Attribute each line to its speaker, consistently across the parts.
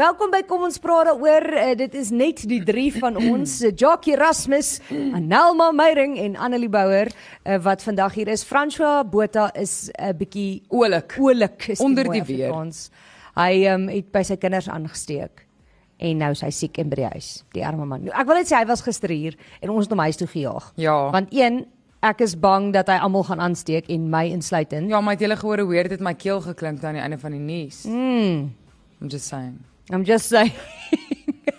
Speaker 1: Welkom by Kom ons praat daaroor. Eh, Dit is net die drie van ons, eh, Jackie Erasmus, Anelma Meyring en Annelie Bouwer eh, wat vandag hier is. François Botha is 'n bietjie
Speaker 2: Oulik.
Speaker 1: Oulik is
Speaker 2: Onder
Speaker 1: mooi
Speaker 2: die weer.
Speaker 1: Afrikaans. Hy um, het by sy kinders aangesteek en nou is hy siek en by die huis, die arme man. Nou, Ek wil net sê hy was gister hier en ons het hom huis toe gejaag.
Speaker 2: Ja.
Speaker 1: Want een, ek is bang dat hy almal gaan aansteek en my insluitend.
Speaker 2: Ja, maar het julle gehoor hoe dit my keel geklink aan die einde van die nuus? Mm.
Speaker 1: Hmm.
Speaker 2: I'm just saying.
Speaker 1: I'm just saying.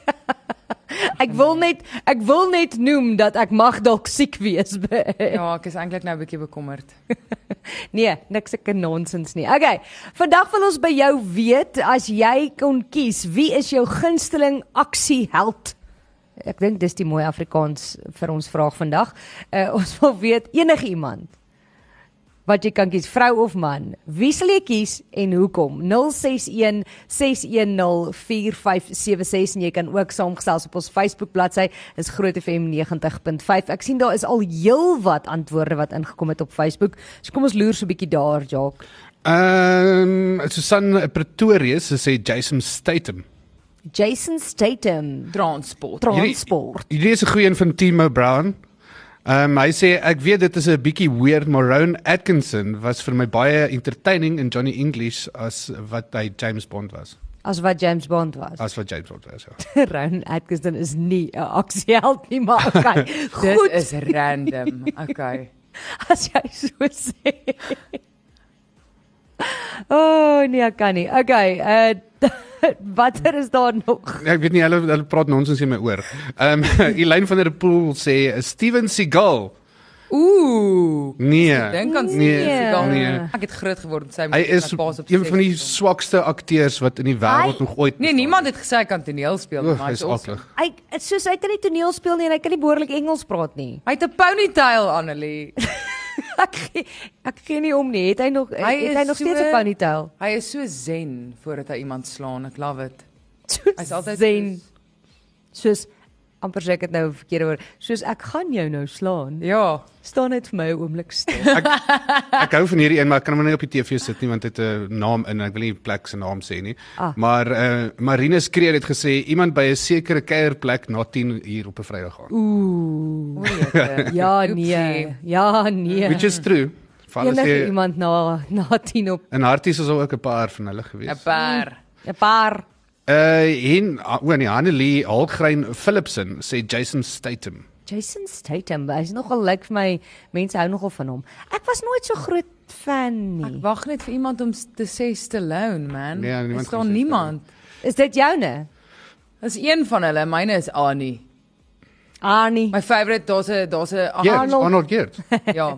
Speaker 1: ek wil net ek wil net noem dat ek mag dalk siek wees. eh.
Speaker 2: Ja, ek is eintlik nou 'n bietjie bekommerd.
Speaker 1: nee, niks ek nonsens nie. Okay. Vandag wil ons by jou weet as jy kon kies, wie is jou gunsteling aksieheld? Ek dink dis die mooi Afrikaans vir ons vraag vandag. Uh, ons wil weet enige iemand wat jy kan kies, vrou of man. Wie sal jy kies en hoekom? 061 610 4576 en jy kan ook saamgesels op ons Facebook bladsy is Groot FM 90.5. Ek sien daar is al heelwat antwoorde wat ingekom het op Facebook. So kom ons loer so 'n bietjie daar, Jacques.
Speaker 3: Ehm um, Susan Pretorius sy sê Jason Statham.
Speaker 1: Jason Statham,
Speaker 2: Transport.
Speaker 1: transport.
Speaker 3: Hierdie is 'n goeie een van Timo Brown. Ehm um, hy sê ek weet dit is 'n bietjie weird maar Rowan Atkinson was vir my baie entertaining in Johnny English as wat hy James Bond was.
Speaker 1: As wat James Bond was.
Speaker 2: Ah.
Speaker 3: As wat James Bond was. Ja.
Speaker 1: Rowan Atkinson is nie 'n aksieheld nie, maar okay.
Speaker 2: Dit
Speaker 1: Goed,
Speaker 2: is random. Okay.
Speaker 1: as jy so sê. O oh, nee, ek kan nie. Okay, uh watter is daar nog?
Speaker 3: Ek weet nie hulle hulle praat nonsens in my oor. Ehm um, Elaine van der Pool sê Steven Seagal.
Speaker 2: Ooh.
Speaker 3: Nee.
Speaker 2: Dink aan
Speaker 3: nee,
Speaker 2: Steven Seagal.
Speaker 3: nee.
Speaker 2: Ek het groot geword met sy
Speaker 3: Hy is
Speaker 2: my pa's op
Speaker 3: een van die
Speaker 2: seks.
Speaker 3: swakste akteurs wat in die wêreld nog ooit
Speaker 2: Nee, niemand het gesê hy kan toneel speel,
Speaker 3: Oeg,
Speaker 2: maar
Speaker 3: hy
Speaker 2: hy
Speaker 3: is
Speaker 2: is awesome.
Speaker 3: aklig.
Speaker 1: Hy soos hy kan nie toneel speel nie en hy kan nie behoorlik Engels praat nie.
Speaker 2: Hy het 'n ponytail, Annelie.
Speaker 1: Ek gee- ek gee nie om nie. Het hy nog hy het hy
Speaker 2: is
Speaker 1: nog
Speaker 2: so-
Speaker 1: steeds 'n ponytail?
Speaker 2: Hy is so zen voordat hy iemand slaan. Ek love it. Hy's altyd
Speaker 1: zen.
Speaker 2: soos-
Speaker 1: Soos amper sê ek dit nou verkeerd oor. Soos ek gaan jou nou slaan.
Speaker 2: Ja.
Speaker 1: Staan net vir my 'n oomblik stil.
Speaker 3: Ek hou van hierdie een, maar ek kan hom nie op die TV sit nie want dit 'n naam in en ek wil nie die plek se naam sê nie.
Speaker 1: Ah.
Speaker 3: Maar eh uh, Marinus Kreer het gesê iemand by 'n sekere kuierplek na 10 uur op 'n Vrydag gaan. Ooh.
Speaker 2: O, jette.
Speaker 1: Ja
Speaker 2: Oepsie.
Speaker 1: nee. Ja nee.
Speaker 3: Which is true. Van
Speaker 1: Enige
Speaker 3: sê
Speaker 1: iemand na na 10 op
Speaker 3: in Harties is al ook 'n paar van hulle
Speaker 2: 'n
Speaker 3: gewees.
Speaker 2: paar.
Speaker 1: 'n paar
Speaker 3: Uh en o nee, Hanelie Halgrein Philipsen sê Jason Statham.
Speaker 1: Jason Statham, hy's nogal lyk vir my mense hou nogal van hom. Ek was nooit so groot fan
Speaker 2: Ek
Speaker 1: nie.
Speaker 2: wag net vir iemand om s- te sê Stallone, man.
Speaker 3: Nee, ja, niemand
Speaker 2: is daar
Speaker 3: gaan sê
Speaker 2: niemand.
Speaker 1: Is dit joune?
Speaker 2: Is een van hulle, myne is Annie.
Speaker 1: Arnie.
Speaker 2: My favourite, daar's 'n daar's 'n
Speaker 1: Ah,
Speaker 2: ag,
Speaker 3: Ja,
Speaker 2: ja.
Speaker 3: dis
Speaker 1: Arnold.
Speaker 3: Arnold Geert.
Speaker 2: ja.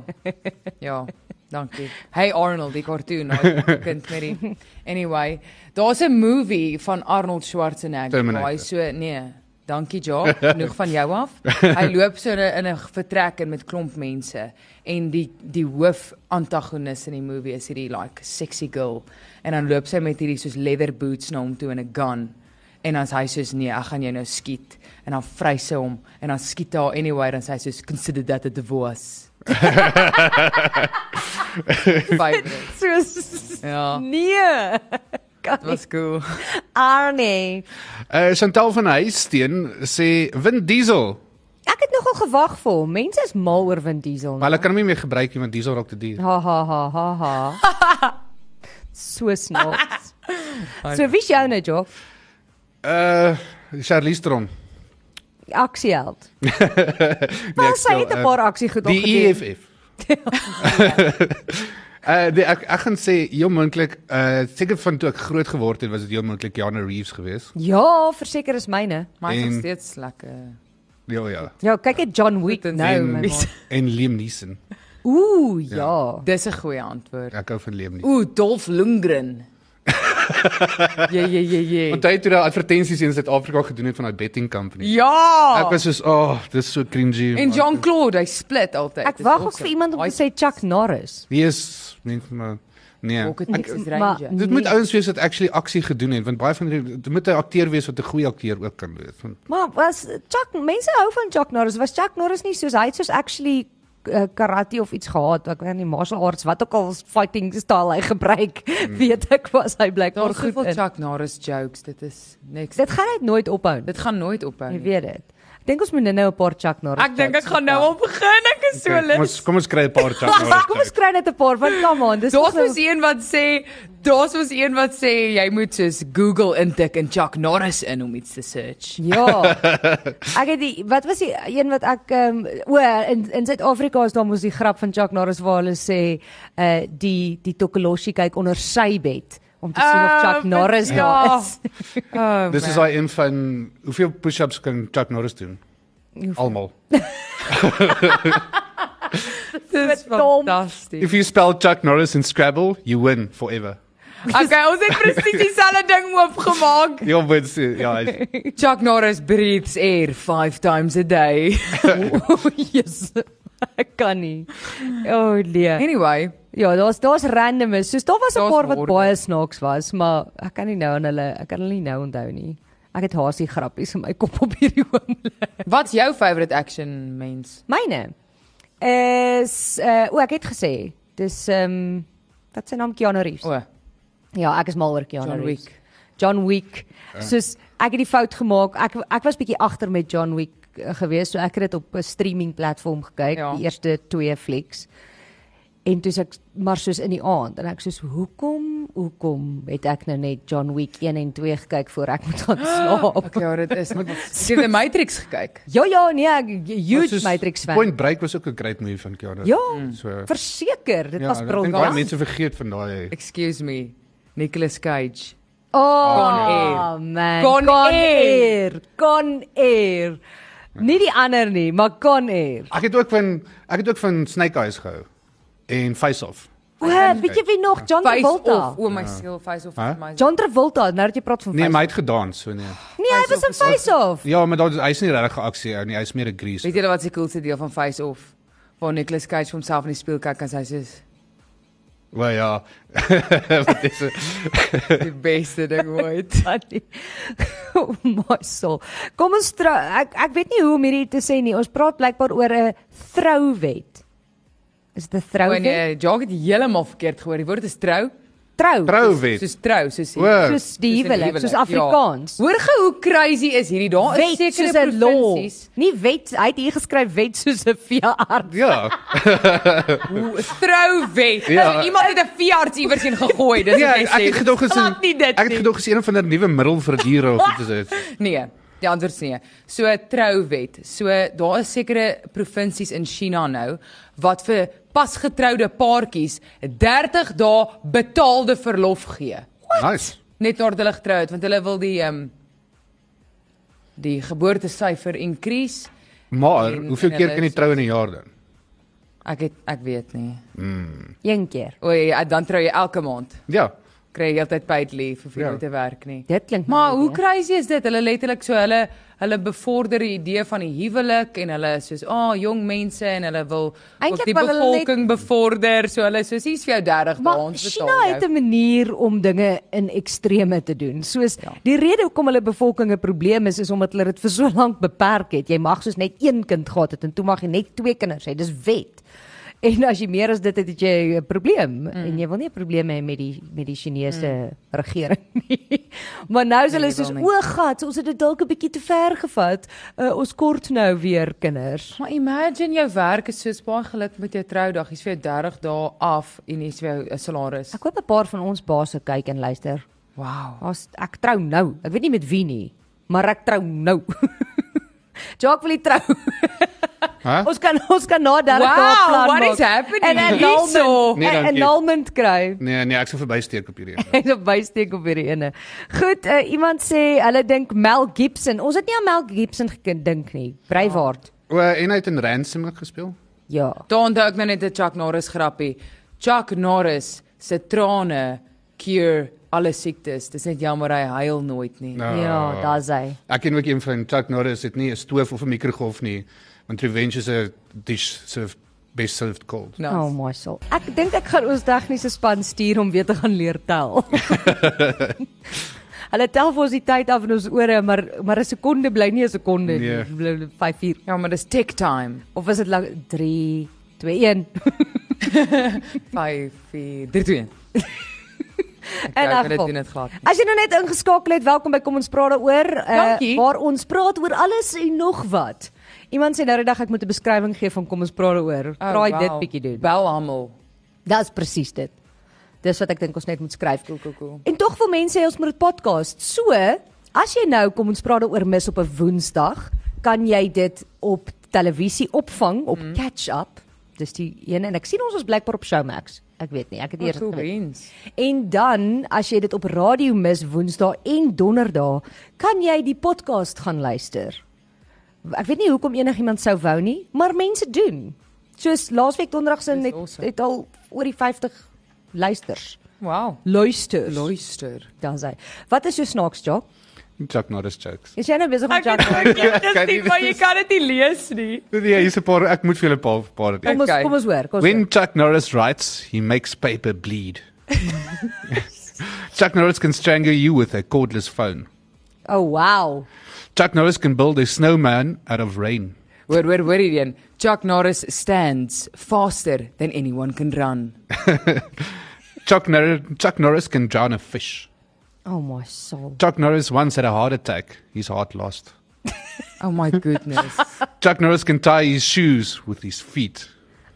Speaker 2: Ja. Dankie. Hey Arnold, die cartoon, hy kind met die. Anyway, daar's 'n movie van Arnold Schwarzenegger
Speaker 3: Terminator.
Speaker 2: waar hy so nee. Dankie Jock, genoeg van jou af. Hy loop so in 'n in 'n vertrek in met klomp mense en die die hoof antagonis in die movie is hierdie like sexy girl en dan loop sy met hierdie soos leather boots na hom toe en 'n gun en dan sê hy soos nee, ek gaan jou nou skiet en dan vryse sy hom en dan skiet hy haar anyway dan sê hy soos consider that a divorce. Favorite.
Speaker 1: Soos
Speaker 2: Ja.
Speaker 1: nee.
Speaker 2: Dit was cool.
Speaker 1: Arnie.
Speaker 3: Uh Chantal van Huisteen sê Vin Diesel.
Speaker 1: Ek het nogal gewag vir hom. Mense is mal oor Vin Diesel.
Speaker 3: Maar hulle kan hom nie meer gebruik nie want diesel raak te duur.
Speaker 1: Ha ha ha ha ha. so snaaks. so wie is joune Jock? Ah.
Speaker 3: Uh Charlize Theron.
Speaker 1: Aksieheld.
Speaker 3: Nee,
Speaker 1: Maar sy
Speaker 3: ek speel,
Speaker 1: het 'n
Speaker 3: eh,
Speaker 1: paar aksiegedog
Speaker 3: Die E
Speaker 1: gedoen.
Speaker 3: EFF. Uh die, ek ek gaan sê heel moontlik uh seker van toe ek groot geword het was dit heel moontlik Keanu Reeves geweest.
Speaker 1: Ja, verseker is myne.
Speaker 2: Maar hy's nog
Speaker 3: En-
Speaker 2: steeds lekker.
Speaker 3: Ja ja.
Speaker 1: Ja, kyk net John Wick
Speaker 2: Goed en
Speaker 1: nou,
Speaker 2: sien.
Speaker 1: my man.
Speaker 3: En Liam Neeson.
Speaker 1: Ooh, ja.
Speaker 2: Dis 'n goeie antwoord.
Speaker 3: Ek hou van Liam Neeson.
Speaker 2: Ooh, Dolph Lundgren. Ja ja ja ja.
Speaker 3: Onthou toe daai advertensies in Suid-Afrika gedoen het van daai betting company. eh, Ek
Speaker 2: Ja.
Speaker 3: was soos, "Ag, oh, dis so cringy."
Speaker 2: En
Speaker 3: maar
Speaker 2: Jean-Claude, hy split altyd.
Speaker 1: Ek wag ook vir iemand om te sê Chuck Norris.
Speaker 3: Wie is mens maar nee.
Speaker 2: Ook niks is
Speaker 1: Ja. maar-
Speaker 2: Ranger.
Speaker 3: Dit moet
Speaker 1: Nee.
Speaker 3: ouens wees wat actually aksie gedoen het want baie van die dit moet 'n akteur wees wat 'n goeie akteur ook kan wees. Want
Speaker 1: Maar was Chuck mense hou van Chuck Norris. Was Chuck Norris nie soos hy het soos actually eh, karate of iets gehad, ek weet nie martial arts wat ook al fighting style hy gebruik, weet ek was hy blykbaar
Speaker 2: Daar's
Speaker 1: goed
Speaker 2: Hmm. soveel
Speaker 1: in.
Speaker 2: Chuck Norris jokes. Dit is niks. Dit,
Speaker 1: Dit gaan net nooit ophou. nie.
Speaker 2: dit gaan nooit ophou
Speaker 1: Jy
Speaker 2: nie.
Speaker 1: weet dit. Ek dink ons moet nou 'n paar Chuck Norris.
Speaker 2: Nee. Ek dink ek
Speaker 1: jokes
Speaker 2: gaan nou
Speaker 1: vertel.
Speaker 2: al begin. Ek is so
Speaker 3: Kom
Speaker 2: lus.
Speaker 3: ons kom ons kry 'n paar chat
Speaker 1: Ag, Kom ons kry net 'n paar want come on, dis
Speaker 2: Daar's
Speaker 1: nog
Speaker 2: mos een wat sê, daar's mos een wat sê jy moet soos Google intik en Chuck Norris in om iets te search.
Speaker 1: Ja. Ek het die wat was die een wat ek ehm o in in Suid-Afrika is daar mos die grap van Chuck Norris waar hulle sê uh die die Tokoloshi kyk onder sy bed om te sien of Chuck
Speaker 2: Oh,
Speaker 1: Norris
Speaker 2: ja.
Speaker 1: daar is.
Speaker 2: Oh,
Speaker 3: Dis is
Speaker 2: man.
Speaker 3: daai een van hoeveel push-ups kan Chuck Norris doen? Almal.
Speaker 2: dis
Speaker 1: dom.
Speaker 2: fantasties.
Speaker 3: If you spell Chuck Norris in Scrabble, you win forever.
Speaker 2: Okay, ons het presies dieselfde ding oopgemaak.
Speaker 3: Ja, maar dit ja, hy-
Speaker 2: Chuck Norris breathes air 5 times a day.
Speaker 1: Jesus. Ek kan nie. O oh, nee.
Speaker 2: Anyway,
Speaker 1: Ja, daar's daar's randomes. Soos daar was 'n
Speaker 2: Daar's
Speaker 1: paar wat
Speaker 2: hordes.
Speaker 1: baie snaaks was, maar ek kan nie nou aan hulle ek kan hulle nie nou onthou nie. Ek het haasie grappies in my kop op hierdie oomblik.
Speaker 2: wat's jou favourite action mens?
Speaker 1: Myne is uh o ek het gesê, dis ehm um, wat se naam Keanu Reeves.
Speaker 2: O,
Speaker 1: Oh.
Speaker 2: oh,
Speaker 1: Ja, ek is mal oor Keanu
Speaker 2: John
Speaker 1: Reeves.
Speaker 2: Wick.
Speaker 1: John Wick. Soos ek het die fout gemaak. Ek ek was bietjie agter met John Wick eh, gewees, so ek het dit op 'n streaming platform gekyk,
Speaker 2: Ja.
Speaker 1: ja. die eerste twee flieks. En toe ek maar soos in die aand en ek soos hoekom hoekom het ek nou net John Wick 1 en 2 gekyk voor ek moet gaan slaap.
Speaker 2: Okay, ja, dit is. Jy het die Matrix gekyk.
Speaker 1: Ja ja nee, ek huge
Speaker 3: soos
Speaker 1: Matrix fan.
Speaker 3: Point Break was ook 'n great movie van Keanu.
Speaker 1: Ja,
Speaker 3: So
Speaker 1: verseker, dit ja, was
Speaker 3: ek dink
Speaker 1: briljant.
Speaker 3: Baie mense vergeet van daai.
Speaker 2: Excuse me. Nicolas Cage.
Speaker 1: Oh, man.
Speaker 2: Con
Speaker 1: Con
Speaker 2: Air.
Speaker 1: Air. Con Air. Nie die ander nie, maar Con Air.
Speaker 3: Ek het ook van ek het ook van Snake Eyes gehou en Face Off.
Speaker 1: O, weet jy wie nog John
Speaker 2: Face off.
Speaker 1: Travolta?
Speaker 2: O my siel, face off
Speaker 3: Huh?
Speaker 2: is my.
Speaker 1: John Travolta, nou dat jy praat van
Speaker 3: Nee,
Speaker 1: Face
Speaker 3: maar hy
Speaker 1: Off.
Speaker 3: het gedans, so nee.
Speaker 1: Nee, hy
Speaker 2: Face
Speaker 1: was
Speaker 2: Off
Speaker 1: in Face Off.
Speaker 3: Ja, maar daar hy's nie regtig 'n aksie ou nie, hy's meer 'n grease.
Speaker 2: Weet julle wat se coolste deel van Face Off? Waar Nicolas Cage vir homself in die spieël kyk en sy sê
Speaker 3: Wel ja. Wat is dit?
Speaker 2: die beste ding ooit.
Speaker 1: Oh my soul. Kom ons trou. Ek ek weet nie hoe om hierdie te sê nie. Ons praat blykbaar oor 'n trouwet. Is dit 'n
Speaker 2: Want
Speaker 1: trouwet?
Speaker 2: nee, Jog het heeltemal verkeerd gehoor. Die woord is trou.
Speaker 1: Trou.
Speaker 3: Trouwet.
Speaker 2: Soos trou, soos
Speaker 3: O.
Speaker 1: Soos die
Speaker 2: Soos 'n
Speaker 1: huwelik, soos
Speaker 2: ja.
Speaker 1: Afrikaans.
Speaker 2: Hoor gou hoe crazy is hierdie daar is
Speaker 1: Wet soos
Speaker 2: sekere
Speaker 1: 'n law.
Speaker 2: provinsies.
Speaker 1: Nie wet, hy het hier geskryf wet soos 'n veearts.
Speaker 3: Ja.
Speaker 2: Hoe trou wet.
Speaker 3: Ja.
Speaker 2: Ja. Iemand het 'n veearts iewers heen gegooi. Dis
Speaker 3: Ja,
Speaker 2: wat
Speaker 3: ek
Speaker 2: jy
Speaker 3: ek
Speaker 2: sê.
Speaker 3: het gedog is
Speaker 2: Glad nie dit
Speaker 3: ek het
Speaker 2: nie.
Speaker 3: gedog is een van 'n nuwe middel vir diere of iets is dit.
Speaker 2: Nee, die antwoord is nee. So trouwet. So daar is sekere provinsies in China nou wat vir pasgetroude paartjies 30 dae betaalde verlof gee.
Speaker 3: Nice.
Speaker 2: Net nadat hulle getrou het want hulle wil die ehm um, die geboortesyfer increase.
Speaker 3: Maar
Speaker 2: En-
Speaker 3: hoeveel
Speaker 2: en
Speaker 3: keer
Speaker 2: hulle
Speaker 3: kan jy
Speaker 2: is-
Speaker 3: trou in 'n jaar dan?
Speaker 2: Ek het ek weet nie.
Speaker 1: Een keer.
Speaker 2: O ja, dan trou jy elke maand.
Speaker 3: Ja.
Speaker 2: Kry jy altyd paid leave of jy
Speaker 3: Ja.
Speaker 2: moet te werk nie.
Speaker 1: Dit klink
Speaker 2: Maar hoe
Speaker 1: moeilik,
Speaker 2: crazy is dit? Hulle letterlik so hulle hulle bevorder die idee van die huwelik en hulle is soos, "Ah, oh, jong mense en hulle wil
Speaker 1: Eintlik
Speaker 2: ook die
Speaker 1: wil hulle net-
Speaker 2: bevolking bevorder." So hulle is soos, "Hier's vir jou 30
Speaker 1: hè?
Speaker 2: dae
Speaker 1: maar
Speaker 2: ons betaal."
Speaker 1: China het 'n manier om dinge in extreme te doen. Soos ja. die rede hoekom hulle bevolking 'n probleem is is omdat hulle dit vir so lank beperk het. Jy mag soos net een kind gehad het en toe mag jy net twee kinders hê. Dis wet. En as jy meer as dit het, het jy 'n probleem mm. en jy wil nie 'n probleem hê met die met die Chinese mm. regering nie. Maar nou is
Speaker 2: Nee,
Speaker 1: hulle
Speaker 2: jy wil
Speaker 1: soos
Speaker 2: nie.
Speaker 1: o gat, ons het dit dalk 'n bietjie te ver gevat. Uh, ons kort nou weer kinders.
Speaker 2: Maar imagine jou werk is soos baie geluk met jou troudag. Jy's vir jou 30 dae af en jy's vir jou 'n salaris.
Speaker 1: Ek hoop 'n paar van ons baase kyk en luister.
Speaker 2: Wow.
Speaker 1: Ons ek trou nou. Ek weet nie met wie nie, maar ek trou nou. Jacques wil nie trou.
Speaker 3: Hæ?
Speaker 1: Ons kan ons kan na 30
Speaker 2: Wow,
Speaker 1: dae plan
Speaker 2: what
Speaker 1: maak.
Speaker 2: is happening
Speaker 1: En
Speaker 2: hier so?
Speaker 1: annulment,
Speaker 3: Nee,
Speaker 1: en
Speaker 3: dankie.
Speaker 1: annulment kry.
Speaker 3: Nee, nee, ek sou verbysteek op hierdie. een.
Speaker 1: En op bysteek op hierdie ene. Goed, uh, iemand sê hulle dink Mel Gibson. Ons het nie aan Mel Gibson gedink nie. Braveheart.
Speaker 3: O, en hy het in Ransom ook gespeel.
Speaker 1: Ja.
Speaker 2: Daar onthou ek nou net 'n Chuck Norris grappie. Chuck Norris se trane cure alle siektes. Dis net jammer hy huil nooit nie.
Speaker 3: Nou. Ah.
Speaker 1: Oh. Ja, daar's hy.
Speaker 3: Ek ken ook een van Chuck Norris het nie 'n stoof of 'n mikrogolf nie, want Revenge is 'n dish served best served cold.
Speaker 2: Nice.
Speaker 1: Oh my soul. Ek dink ek gaan ons tegniese span stuur om weer te gaan leer tel. Hulle tel vir ons die tyd af in ons ore, maar maar 'n sekonde bly nie 'n sekonde nie.
Speaker 3: Nee.
Speaker 1: Dit Bly 5 uur.
Speaker 2: Ja, maar dis tick time.
Speaker 1: Of was dit 3 2 1.
Speaker 2: 5 4 3 2.
Speaker 1: En
Speaker 2: Ek
Speaker 1: afval.
Speaker 2: doen dit glad. nie.
Speaker 1: As jy nou net ingeskakel het, welkom by Kom ons praat daaroor, eh,
Speaker 2: Dankie.
Speaker 1: waar ons praat oor alles en nog wat. Iemand sê nou die dag ek moet 'n beskrywing gee van Kom ons praat daaroor.
Speaker 2: Oh,
Speaker 1: Probeer
Speaker 2: wow.
Speaker 1: dit bietjie doen.
Speaker 2: Bel almal.
Speaker 1: Dis presies dit. Dis wat ek dink ons net moet skryf.
Speaker 2: Cool, cool, cool.
Speaker 1: En tog wil mense hê ons moet dit podcast. So, as jy nou kom ons praat daaroor mis op 'n Woensdag, kan jy dit op televisie opvang op
Speaker 2: Mhm.
Speaker 1: mm. Catch Up. Dis die een en ek sien ons is blykbaar op Showmax. Ek weet nie, ek het eers
Speaker 2: Wat Oh, cool
Speaker 1: geweet.
Speaker 2: wens.
Speaker 1: En dan as jy dit op radio mis Woensdae en Donderdae, kan jy die podcast gaan luister. Ek weet nie hoekom enigiemand sou wou nie, maar mense doen. Soos laasweek donderdag se
Speaker 2: Dis
Speaker 1: net
Speaker 2: awesome.
Speaker 1: het al oor die 50 luisters.
Speaker 2: Wow.
Speaker 1: Luister.
Speaker 2: Luister.
Speaker 1: Daar's hy. Wat is jou snaaks job?
Speaker 3: Chuck Norris jokes.
Speaker 1: Is jy nou besig om job?
Speaker 3: Kan nie- maar jy
Speaker 2: kan dit nie lees nie.
Speaker 3: Ja, hier's 'n paar ek moet vir julle 'n paar paar
Speaker 1: Kom ons
Speaker 2: Okay.
Speaker 1: kom ons hoor. Kom ons.
Speaker 3: When Chuck Norris writes, he makes paper bleed. Chuck Norris can strangle you with a cordless phone.
Speaker 1: hoor. Oh wow.
Speaker 3: Chuck Norris can build a snowman out of rain.
Speaker 2: Hoor, hoor, hoor hierdie een. Chuck Norris stands faster than anyone can run.
Speaker 3: Chuck, Nor- Chuck Norris can drown a fish.
Speaker 1: Oh my soul.
Speaker 3: Chuck Norris once had a heart attack. His heart lost.
Speaker 2: Oh my goodness.
Speaker 3: Chuck Norris can tie his shoes with his feet.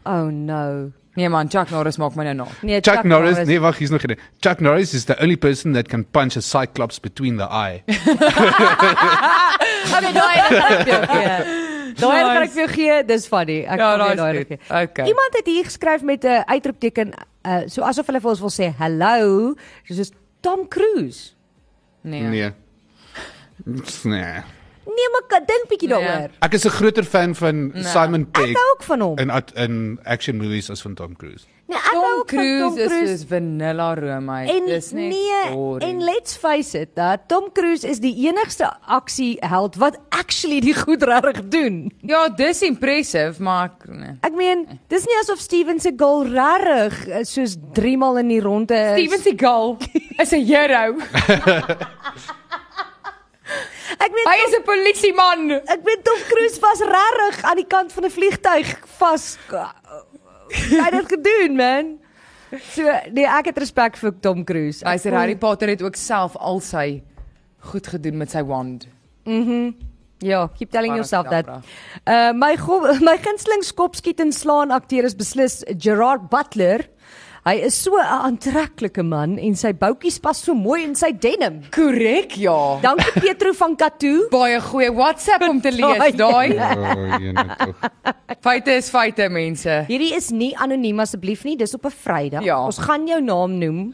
Speaker 1: Oh no.
Speaker 2: Nee man, Chuck Norris maak my nou na.
Speaker 1: Nee,
Speaker 3: Chuck, Norris, nee, wag, hier's nog een. Chuck Norris is the only person that can punch a cyclops between the eye.
Speaker 1: Okay, daai het ek vir jou gee. Daai het ek vir jou gee, dis funny. Ek
Speaker 2: Ja,
Speaker 1: gaan jou
Speaker 2: daai is
Speaker 1: daai
Speaker 2: goed.
Speaker 1: gee.
Speaker 2: Okay.
Speaker 1: Iemand het hier geskryf met 'n uitroepteken, uh, so asof hulle vir ons wil sê hallo, soos Tom Cruise.
Speaker 2: Nee.
Speaker 3: nee. Nee.
Speaker 1: Nee, maar kan- dink bietjie
Speaker 2: Nee.
Speaker 1: daaroor.
Speaker 3: Ek is 'n groter fan van
Speaker 2: Nee.
Speaker 3: Simon
Speaker 1: Ek
Speaker 3: Pegg
Speaker 1: hou ook van hom.
Speaker 3: in act- in action movies as van Tom Cruise.
Speaker 1: Nee, ek hou
Speaker 2: Tom
Speaker 1: ook van Tom
Speaker 2: Cruise is
Speaker 1: Cruise.
Speaker 2: soos vanilla roomys.
Speaker 1: En
Speaker 2: Dis net
Speaker 1: nee,
Speaker 2: boring.
Speaker 1: en let's face it, dat Tom Cruise is die enigste aksieheld wat actually die goed regtig doen.
Speaker 2: Ja, dis impressive, maar ek- nee.
Speaker 1: Ek meen, dis nie asof Steven Seagal regtig eh, soos 3 maal in die ronde is.
Speaker 2: Steven Seagal is 'n hero.
Speaker 1: ek meen
Speaker 2: Hy is 'n polisieman.
Speaker 1: Ek weet Tom Cruise was regtig aan die kant van 'n vliegtyg vas. Hy het dit gedoen, man. So, nee, ek het respek vir Tom Cruise.
Speaker 2: Hy sê Harry Potter het ook self al sy goed gedoen met sy wand.
Speaker 1: Ja, keep telling yourself that.
Speaker 2: Abracadabra.
Speaker 1: Uh my go- my gunsteling skopskiet en slaan akteur is beslis Gerard Butler. Hy is so 'n aantreklike man en sy boutjies pas so mooi in sy denim.
Speaker 2: Korrek, ja.
Speaker 1: Dankie Petro van Katoo.
Speaker 2: Baie goeie WhatsApp om te lees, daai. Feite is feite, mense.
Speaker 1: Hierdie is nie anoniem asseblief nie, dis op 'n Vrydag.
Speaker 2: Ja.
Speaker 1: Ons gaan jou naam noem.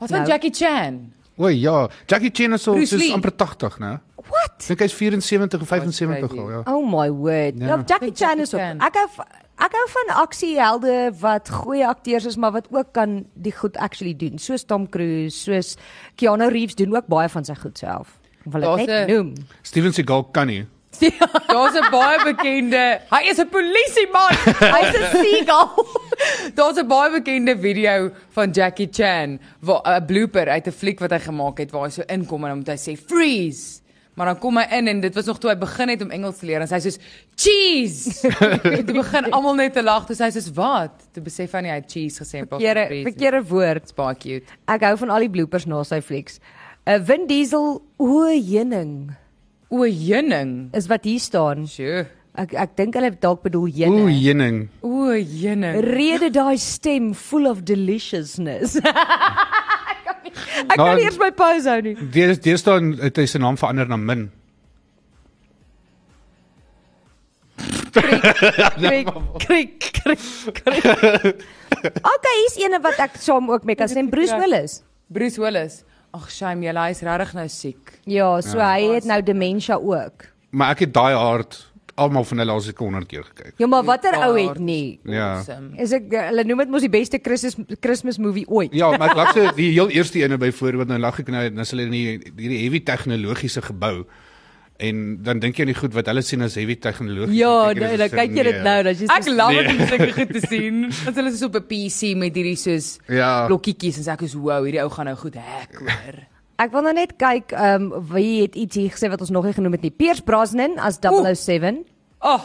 Speaker 2: Wat van
Speaker 1: Nou.
Speaker 2: Jackie Chan?
Speaker 3: O ja, Jackie Chan is al
Speaker 2: Bruce
Speaker 3: soos
Speaker 2: Lee.
Speaker 3: amper 80, né?
Speaker 1: What?
Speaker 3: Dink hy's 74 of 75
Speaker 2: crazy.
Speaker 3: al, ja.
Speaker 1: Oh my word. Ja,
Speaker 3: Ja.
Speaker 1: Jackie
Speaker 2: Ek dink
Speaker 1: Chan
Speaker 2: Jackie
Speaker 1: is ook.
Speaker 2: Chan.
Speaker 1: Ek hou v- ek hou van aksiehelde wat goeie akteurs is, maar wat ook kan die goed actually doen. Soos Tom Cruise, soos Keanu Reeves doen ook baie van sy goed self. Ek Wil
Speaker 2: Daar's
Speaker 1: dit net
Speaker 2: een-
Speaker 1: noem.
Speaker 3: Steven Seagal kan nie.
Speaker 2: Ja. Daar's 'n baie bekende. Hy is 'n polisieman. Hy's 'n seagull. Daar's 'n baie bekende video van Jackie Chan waar 'n blooper uit 'n fliek wat hy gemaak het waar hy so inkom en dan moet hy sê freeze. Maar dan kom hy in en dit was nog toe hy begin het om Engels te leer en hy sê cheese. En toe begin almal net te lag, toe sê hy sê wat? Toe besef hy nie hy het cheese gesê en pas
Speaker 1: Verkeerde verkeerde woord.
Speaker 2: Dit's baie cute.
Speaker 1: Ek hou van al die bloopers na sy flieks. 'n uh, Vin Diesel o heuning
Speaker 2: O, heuning.
Speaker 1: is wat hier staan.
Speaker 2: Sjoe.
Speaker 1: Ek ek dink hulle het dalk bedoel
Speaker 3: O,
Speaker 1: heuning.
Speaker 3: jenning.
Speaker 2: O, heuning.
Speaker 1: Rede daai stem full of deliciousness. ek kan nie, ek
Speaker 3: Nou,
Speaker 1: kan nie eers my pose hou nie.
Speaker 3: Daar is daar staan het hy sy naam verander na Min. Ja,
Speaker 1: Krik, krik, krik, krik. Okay, hier's eene wat ek saam ook mee kan stem, Bruce Willis.
Speaker 2: Bruce Willis. Ag, shame, jy is regtig nou siek.
Speaker 1: Ja, so hy het nou dementia ook.
Speaker 3: Maar ek het daai hard almal van hulle al seker 100 keer gekyk.
Speaker 1: Ja, maar watter ou het nie?
Speaker 3: Ja.
Speaker 2: Awesome.
Speaker 1: Is ek hulle noem dit mos die beste Christmas Christmas movie ooit.
Speaker 3: Ja, maar ek lag so die heel eerste ene byvoorbeeld nou lag ek nou nou is hulle in die- hierdie heavy tegnologiese gebou. En dan dink jy aan die goed wat hulle sien as heavy tegnologies.
Speaker 1: Ja,
Speaker 3: en
Speaker 1: nou,
Speaker 3: is
Speaker 1: dan
Speaker 3: so,
Speaker 1: kyk jy dit
Speaker 3: nee.
Speaker 1: nou, dan jy
Speaker 2: Ek love dit om sulke goed te sien. Want hulle is so op 'n PC met hierdie soos
Speaker 3: Ja.
Speaker 2: blokkietjies en sê ek is wow, hierdie ou gaan nou goed hack hoor.
Speaker 1: Ek wil nou net kyk, ehm oh um, wie het iets hier gesê wat ons nog nie genoem het nie. Piers Brosnan as 007.
Speaker 2: Ag, oh,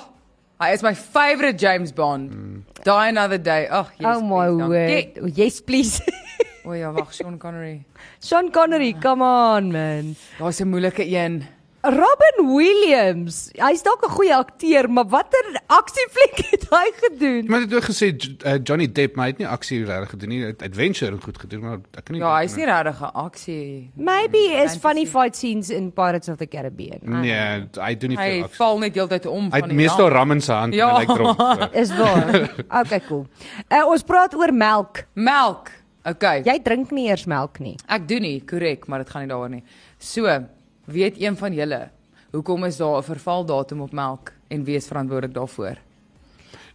Speaker 2: Hy is my favourite James Bond.
Speaker 3: Mm.
Speaker 2: Die another day. Ag, oh, yes.
Speaker 1: oh my word. Oh, yes please.
Speaker 2: O ja, wag, Sean Connery.
Speaker 1: Sean Connery, come on man.
Speaker 2: Daar's 'n moeilike een.
Speaker 1: Robin Williams. Hy's dalk 'n goeie akteur, maar watter aksiefliek het hy gedoen?
Speaker 3: Maar dit het ook gesê J- eh, Johnny Depp, maar hy het nie aksie regtig gedoen nie. Hy het adventure en goed gedoen, maar ek kan nie
Speaker 2: Ja, hy's nie
Speaker 3: Nee.
Speaker 2: regtig 'n aksie.
Speaker 1: Maybe is
Speaker 2: Mm, Fantasy.
Speaker 1: funny fight scenes in Pirates of the Caribbean. Ah, I don't know.
Speaker 3: Nee, hy doen nie veel
Speaker 2: Hy
Speaker 3: aksie.
Speaker 2: val net heeltyd om
Speaker 3: Hy
Speaker 2: van
Speaker 3: het
Speaker 2: die
Speaker 3: meestal
Speaker 2: ramp.
Speaker 3: ram in sy hand
Speaker 2: Ja.
Speaker 3: en hy lyk dronk.
Speaker 1: Is waar. Okay, cool. Uh, ons praat oor melk.
Speaker 2: melk. Okay.
Speaker 1: Jy drink nie eers melk nie.
Speaker 2: Ek doen nie, korrek, maar dit gaan nie daaroor nie. So, weet een van julle hoekom is daar 'n vervaldatum op melk en wie is verantwoordelik daarvoor?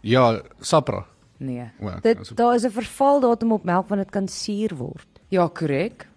Speaker 3: Ja, Sapra.
Speaker 2: Nee.
Speaker 3: Wel,
Speaker 1: Dit
Speaker 3: dis-
Speaker 1: daar is 'n vervaldatum op melk want dit kan suur word.
Speaker 2: Ja, korrek.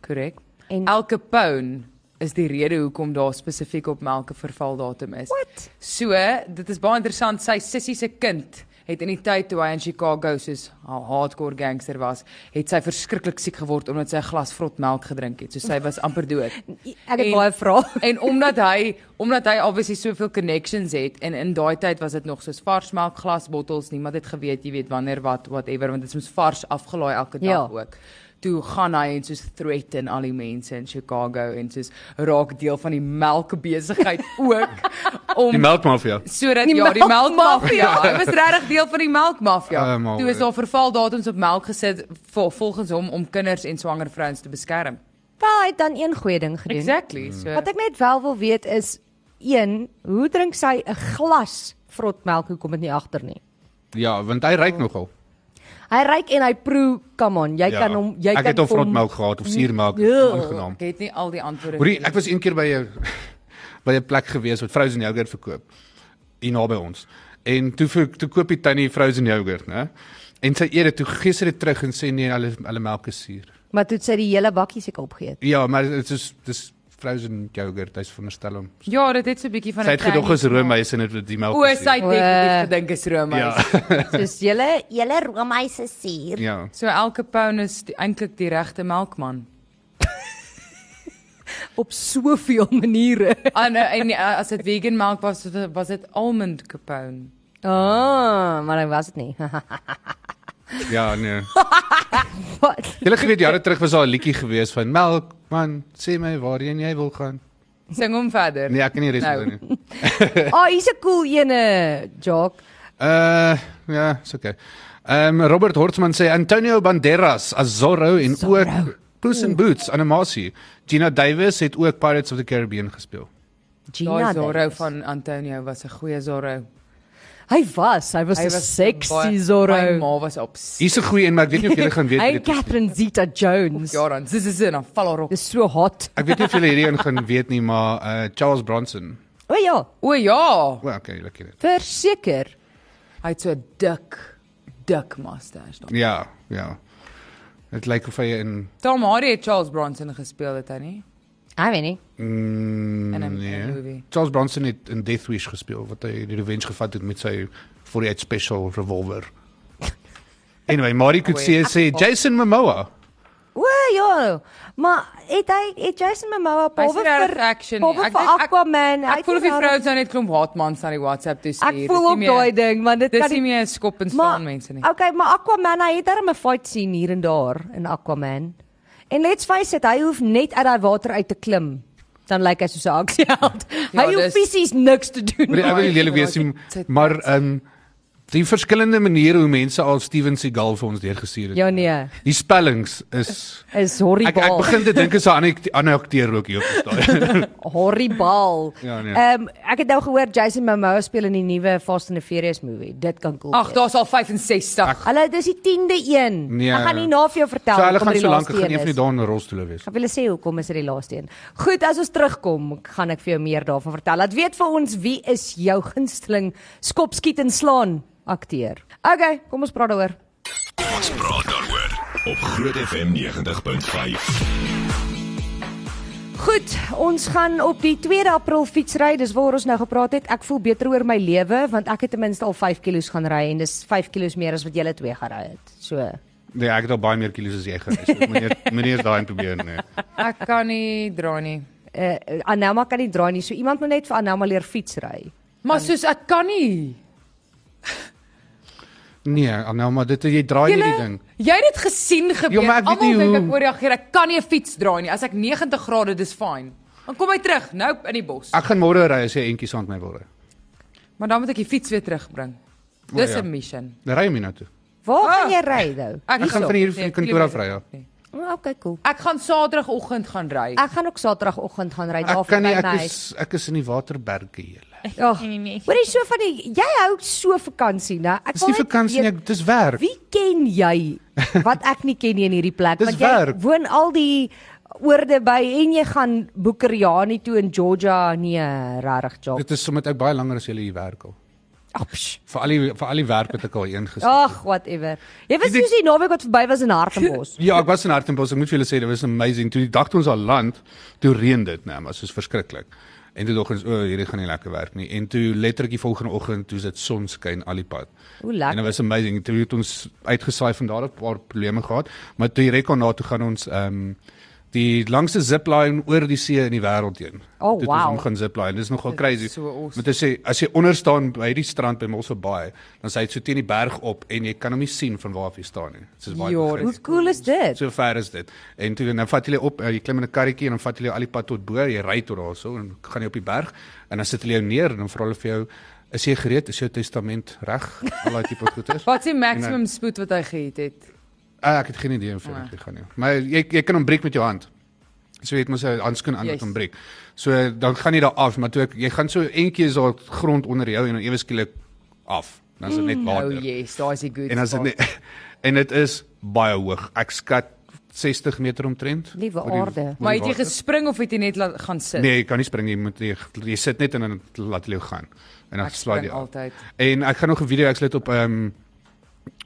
Speaker 2: Korrek.
Speaker 1: En
Speaker 2: Elke pound is die rede hoekom daar spesifiek op melk 'n vervaldatum is.
Speaker 1: What?
Speaker 2: So, dit is baie interessant. Sy sissie se kind het in die tyd toe hy in Chicago soos 'n hardcore gangster was, het sy verskriklik siek geword omdat sy 'n glas vrot melk gedrink het. So sy was amper dood.
Speaker 1: ek het
Speaker 2: En-
Speaker 1: baie vrae.
Speaker 2: en omdat hy omdat hy obviously soveel connections het en in daai tyd was dit nog soos vars melk glasbottels niemand het geweet jy weet wanneer wat whatever want dit is mos vars afgelaai elke dag
Speaker 1: Ja.
Speaker 2: ook toe gaan hy en soos threaten al die mense in Chicago en soos raak deel van die melkbesigheid ook
Speaker 3: Die
Speaker 2: om
Speaker 3: melkmafia.
Speaker 2: sodat
Speaker 1: Die
Speaker 2: ja die melkmafia
Speaker 1: melkmafia.
Speaker 2: hy was regtig deel van die melkmafia
Speaker 3: Oh, my
Speaker 2: toe is
Speaker 3: word.
Speaker 2: daar vervaldatums op melk gesit vol, volgens hom om kinders en swanger vrouens te beskerm
Speaker 1: Wel, hy het dan een goeie ding gedoen.
Speaker 2: exactly
Speaker 3: Hmm.
Speaker 2: so
Speaker 1: Wat ek net wel wil weet is een, hoe drink sy 'n glas vrotmelk? Hoe kom dit nie agter nie?
Speaker 3: Ja, want hy ryk nogal.
Speaker 1: Hy ryk en hy proe, come on, jy
Speaker 3: Ja.
Speaker 1: kan hom jy
Speaker 3: ek
Speaker 1: kan
Speaker 3: het al
Speaker 1: vir hom-
Speaker 3: vrotmelk gehad of suurmelk,
Speaker 1: Ja.
Speaker 3: aangenaam.
Speaker 2: Ek het nie al die antwoorde
Speaker 3: Hoorie,
Speaker 2: nie.
Speaker 3: ek was een keer by 'n by 'n plek gewees wat frozen yogurt verkoop hier naby ons. En toe ver- toe koop die tannie frozen yogurt, né? En sy eet dit toe gister dit terug en sê nee, hulle hulle melk is suur.
Speaker 1: Maar toe het sy die hele bakkie seker opgeëet.
Speaker 3: Ja, maar dit is dis frozen yogurt, hy's veronderstel om.
Speaker 2: Ja, dit het so 'n bietjie van
Speaker 3: Sy het gedog is
Speaker 2: roomys.
Speaker 3: roomys en dit het die melk.
Speaker 2: O,
Speaker 3: is
Speaker 2: sy
Speaker 3: suur.
Speaker 2: het
Speaker 1: O.
Speaker 2: definitief gedink is roomys.
Speaker 3: Ja.
Speaker 1: Soos julle, julle
Speaker 4: roomys is suur.
Speaker 3: Ja.
Speaker 2: So elke pound is die- eintlik die regte melkman.
Speaker 1: op soveel maniere.
Speaker 2: En en eh, as dit vegan melk was, was- was dit almond capone.
Speaker 1: Ah, maar hy was dit nie.
Speaker 3: Ja, nee.
Speaker 1: Wat?
Speaker 3: Julle geweet jare terug was daar 'n liedjie gewees van melk, man, sê my waarheen jy wil gaan.
Speaker 2: Sing hom verder.
Speaker 3: Nee, ek kan nie res
Speaker 2: Nou.
Speaker 3: nou. nie.
Speaker 1: Ah, oh, hier's 'n cool ene, Jock.
Speaker 3: Uh ja, is okay. Ehm um, Robert Hortman sê Antonio Banderas as Zorro en Zorro. ook Puss in Boots animasie. Gina Davis het ook Pirates of the Caribbean gespeel.
Speaker 1: Gina
Speaker 2: Daai Zorro
Speaker 1: Davis.
Speaker 2: van Antonio was 'n goeie Zorro.
Speaker 1: Hy was, hy was 'n sexy Zorro.
Speaker 2: My ma was op.
Speaker 3: Hier's 'n goeie een, maar ek weet nie of julle gaan weet
Speaker 1: Hy
Speaker 3: wie
Speaker 1: en
Speaker 3: dit is.
Speaker 1: Catherine Zeta-Jones.
Speaker 2: Ja dan, dis is 'n val op.
Speaker 1: Dis so hot.
Speaker 3: Ek weet nie of julle hierdie een gaan weet nie, maar uh Charles Bronson.
Speaker 1: O ja,
Speaker 2: O ja,
Speaker 3: O, well, okay, julle ken dit.
Speaker 1: verseker.
Speaker 2: hy het so 'n dik dik mustache dan.
Speaker 3: Ja, ja. Dit lyk of hy in
Speaker 2: Tom Hardy het Charles Bronson gespeel het hy nie
Speaker 1: Hy weet nie.
Speaker 3: mm,
Speaker 2: in 'n
Speaker 3: nee.
Speaker 2: yeah. movie.
Speaker 3: Charles Bronson het in Death Wish gespeel wat hy die revenge gevat het met sy 48 special revolver. Anyway, Marie Coetzee sê Jason Momoa.
Speaker 1: O ja, maar het hy het Jason Momoa
Speaker 2: Hy's
Speaker 1: behalwe
Speaker 2: regtig
Speaker 1: vir
Speaker 2: action nie.
Speaker 1: behalwe
Speaker 2: Ek
Speaker 1: vir
Speaker 2: dink- ek-
Speaker 1: Aquaman. hy
Speaker 2: Ek voel
Speaker 1: het
Speaker 2: of die
Speaker 1: nie
Speaker 2: vrouens nou net klomp haatmans aan die WhatsApp toe stuur.
Speaker 1: Ek voel ook daai ding, want dit
Speaker 2: Dis
Speaker 1: kan
Speaker 2: nie
Speaker 1: nie
Speaker 2: meer 'n skop en
Speaker 1: Maar-
Speaker 2: staan mense nie.
Speaker 1: Okay, maar Aquaman hy het darem 'n fight scene hier en daar in Aquaman. En let's face it, hy hoef net uit daai water uit te klim. Dan lyk hy soos 'n aksieheld.
Speaker 2: Ja,
Speaker 1: Hy hoef
Speaker 2: dis-
Speaker 1: fisies niks te doen.
Speaker 3: Maar
Speaker 1: nie.
Speaker 3: ek wil nie lelik wees nie, maar ehm um, die verskillende maniere hoe mense al Steven Seagal vir ons deurgestuur het.
Speaker 1: Ja nee,
Speaker 3: Die spellings is
Speaker 1: is
Speaker 3: ek ek
Speaker 1: horribaal.
Speaker 3: begin te dink is 'n ander act- ander akteur ook hier op die staan.
Speaker 1: Horribaal.
Speaker 3: Ja, nee.
Speaker 1: Ehm ek het nou gehoor Jason Momoa speel in die nuwe Fast and the Furious movie. Dit kan cool.
Speaker 2: Ag,
Speaker 1: wees.
Speaker 2: daar's al 65.
Speaker 1: Hulle dis die 10de een.
Speaker 3: Nee.
Speaker 1: Ek gaan nie na vir jou vertel
Speaker 3: So hulle
Speaker 1: hoekom
Speaker 3: gaan
Speaker 1: dit
Speaker 3: so
Speaker 1: die
Speaker 3: lank
Speaker 1: laaste
Speaker 3: gaan
Speaker 1: een
Speaker 3: een
Speaker 1: is.
Speaker 3: van die dae in rolstoele wees.
Speaker 1: Ek wil julle sê hoekom is dit die laaste een. Goed, as ons terugkom, gaan ek vir jou meer daarvan vertel. Laat weet vir ons wie is jou gunsteling skop skiet en slaan akteur. Okay, kom ons praat daaroor.
Speaker 5: Praat daaroor op Groot FM 90.5.
Speaker 1: Goed, ons gaan op die 2 April fietsry, dis waar ons nou gepraat het. Ek voel beter oor my lewe want ek het ten minste al 5 kg gaan ry en dis 5 kg meer as wat julle twee gery het. So, eh,
Speaker 3: Nee, ek het al baie meer kilos as jy gereis. Meneer meneer is daai in probeer nee.
Speaker 2: Ek kan nie dra nie.
Speaker 1: eh uh, Anelma kan nie draai nie. So iemand moet net vir Anelma leer fietsry.
Speaker 2: Maar soos ek kan nie.
Speaker 3: Nee, nou maar dit jy draai
Speaker 2: Julle,
Speaker 3: hierdie ding.
Speaker 2: Jy het dit gesien gebeur.
Speaker 3: maar ek weet
Speaker 2: Almal
Speaker 3: nie
Speaker 2: dink ek
Speaker 3: hoe-
Speaker 2: ooreageer. Ek kan nie 'n fiets draai nie. As ek 90 grade dis fyn. Dan kom hy terug, nou in die bos.
Speaker 3: Ek gaan môre ry as jy eentjies aan my wil ry.
Speaker 2: Maar dan moet ek die fiets weer terugbring. Dis 'n
Speaker 3: ja.
Speaker 2: mission.
Speaker 3: Dan ry jy my nou toe.
Speaker 1: Waar
Speaker 2: Ah.
Speaker 1: gaan jy ry nou?
Speaker 3: Ek gaan
Speaker 2: hierso.
Speaker 3: van hier van die
Speaker 2: Nee,
Speaker 3: kantoor af
Speaker 2: kilometer
Speaker 3: ry, ja.
Speaker 2: nie.
Speaker 1: Oh, okay, cool.
Speaker 2: Ek gaan saterdagoggend gaan ry.
Speaker 1: Ek gaan ook saterdagoggend gaan ry daar
Speaker 3: Ek kan nie
Speaker 1: by
Speaker 3: ek
Speaker 1: Ja, my
Speaker 3: is ek is in die Waterberge julle.
Speaker 1: huis. Ag, Hoor jy so van die jy hou so vakansie, né? Ek
Speaker 3: Dis nie
Speaker 1: wil net
Speaker 3: vakansie nie,
Speaker 1: weet,
Speaker 3: ek- dis werk.
Speaker 1: Wie ken jy wat ek nie ken nie in hierdie plek
Speaker 3: Dis
Speaker 1: want jy
Speaker 3: werk.
Speaker 1: woon al die oorde by en jy gaan Boekeriani toe in Georgia nee regtig job.
Speaker 3: Dit is sommer ek baie langer as julle hier werk al.
Speaker 1: Ag, psh,
Speaker 3: Vir al die vir al die werk wat ek al ingesit het.
Speaker 1: Ag, whatever. Jy was
Speaker 3: Dit-
Speaker 1: soos die naweek wat verby was in Hartenbos.
Speaker 3: Ja, ek was in Hartenbos. Ek moet vir julle sê dit was amazing. Toe die dag toe ons al land, toe reën dit, nee, maar soos verskriklik. En toe dog ons, o, hierdie gaan nie lekker werk nie. En toe letterlik die volgende oggend, toe is dit sonskyn al die pad.
Speaker 1: Hoe
Speaker 3: En dit
Speaker 1: lekker.
Speaker 3: was amazing. Toe het ons uitgesaai van daar af 'n paar probleme gehad, maar toe direk daarna toe gaan ons ehm um, die langste zipline oor die see in die wêreld heen.
Speaker 1: Oh,
Speaker 3: Toe het
Speaker 1: wow.
Speaker 3: Ons om gaan zipline. Dis nogal
Speaker 2: Dit
Speaker 3: crazy.
Speaker 2: is so awesome.
Speaker 3: Maar dit sê as jy onder staan by die strand by Mossel Bay, dan sê dit so teen die berg op en jy kan hom nie sien van waar af jy staan nie. Dit is baie
Speaker 2: Ja, dit
Speaker 3: begryp.
Speaker 1: Hoe cool is dit?
Speaker 3: So ver is dit. En toe dan vat hulle op, eh, jy klim in 'n karretjie en dan vat hulle al die pad tot bo, jy ry tot daarso en gaan jy op die berg en dan sit hulle jou neer en dan vra hulle vir jou, is jy gereed? Is jou testament reg? Al daai tipe goeders.
Speaker 2: Wat is die maximum spoed wat hy gehet het?
Speaker 3: Ah, ek het geen idee hoe vinnig dit gaan nie. Maar jy jy kan hom breek met jou hand. So jy het mos 'n handskoen aan
Speaker 2: Juist.
Speaker 3: wat hom breek. So dan gaan jy daar af, maar toe ek, jy gaan so eentjie is daar grond onder jou en dan ewe skielik af. Dan is dit net
Speaker 2: Oh
Speaker 3: water.
Speaker 2: yes, daai is die good.
Speaker 3: En as dit
Speaker 2: spot.
Speaker 3: nie, en dit is baie hoog. Ek skat 60 meter omtrent.
Speaker 1: Liewe
Speaker 3: Oor die-
Speaker 1: aarde.
Speaker 3: oor die
Speaker 2: Maar het jy
Speaker 3: water.
Speaker 2: gespring of het jy net laat gaan sit?
Speaker 3: Nee, jy kan nie spring nie. Jy moet jy, jy sit net en dan laat hulle jou gaan. En dan
Speaker 2: ek
Speaker 3: slaai
Speaker 2: spring
Speaker 3: jy af.
Speaker 2: altyd.
Speaker 3: En ek gaan nog 'n video ek's dit op ehm um,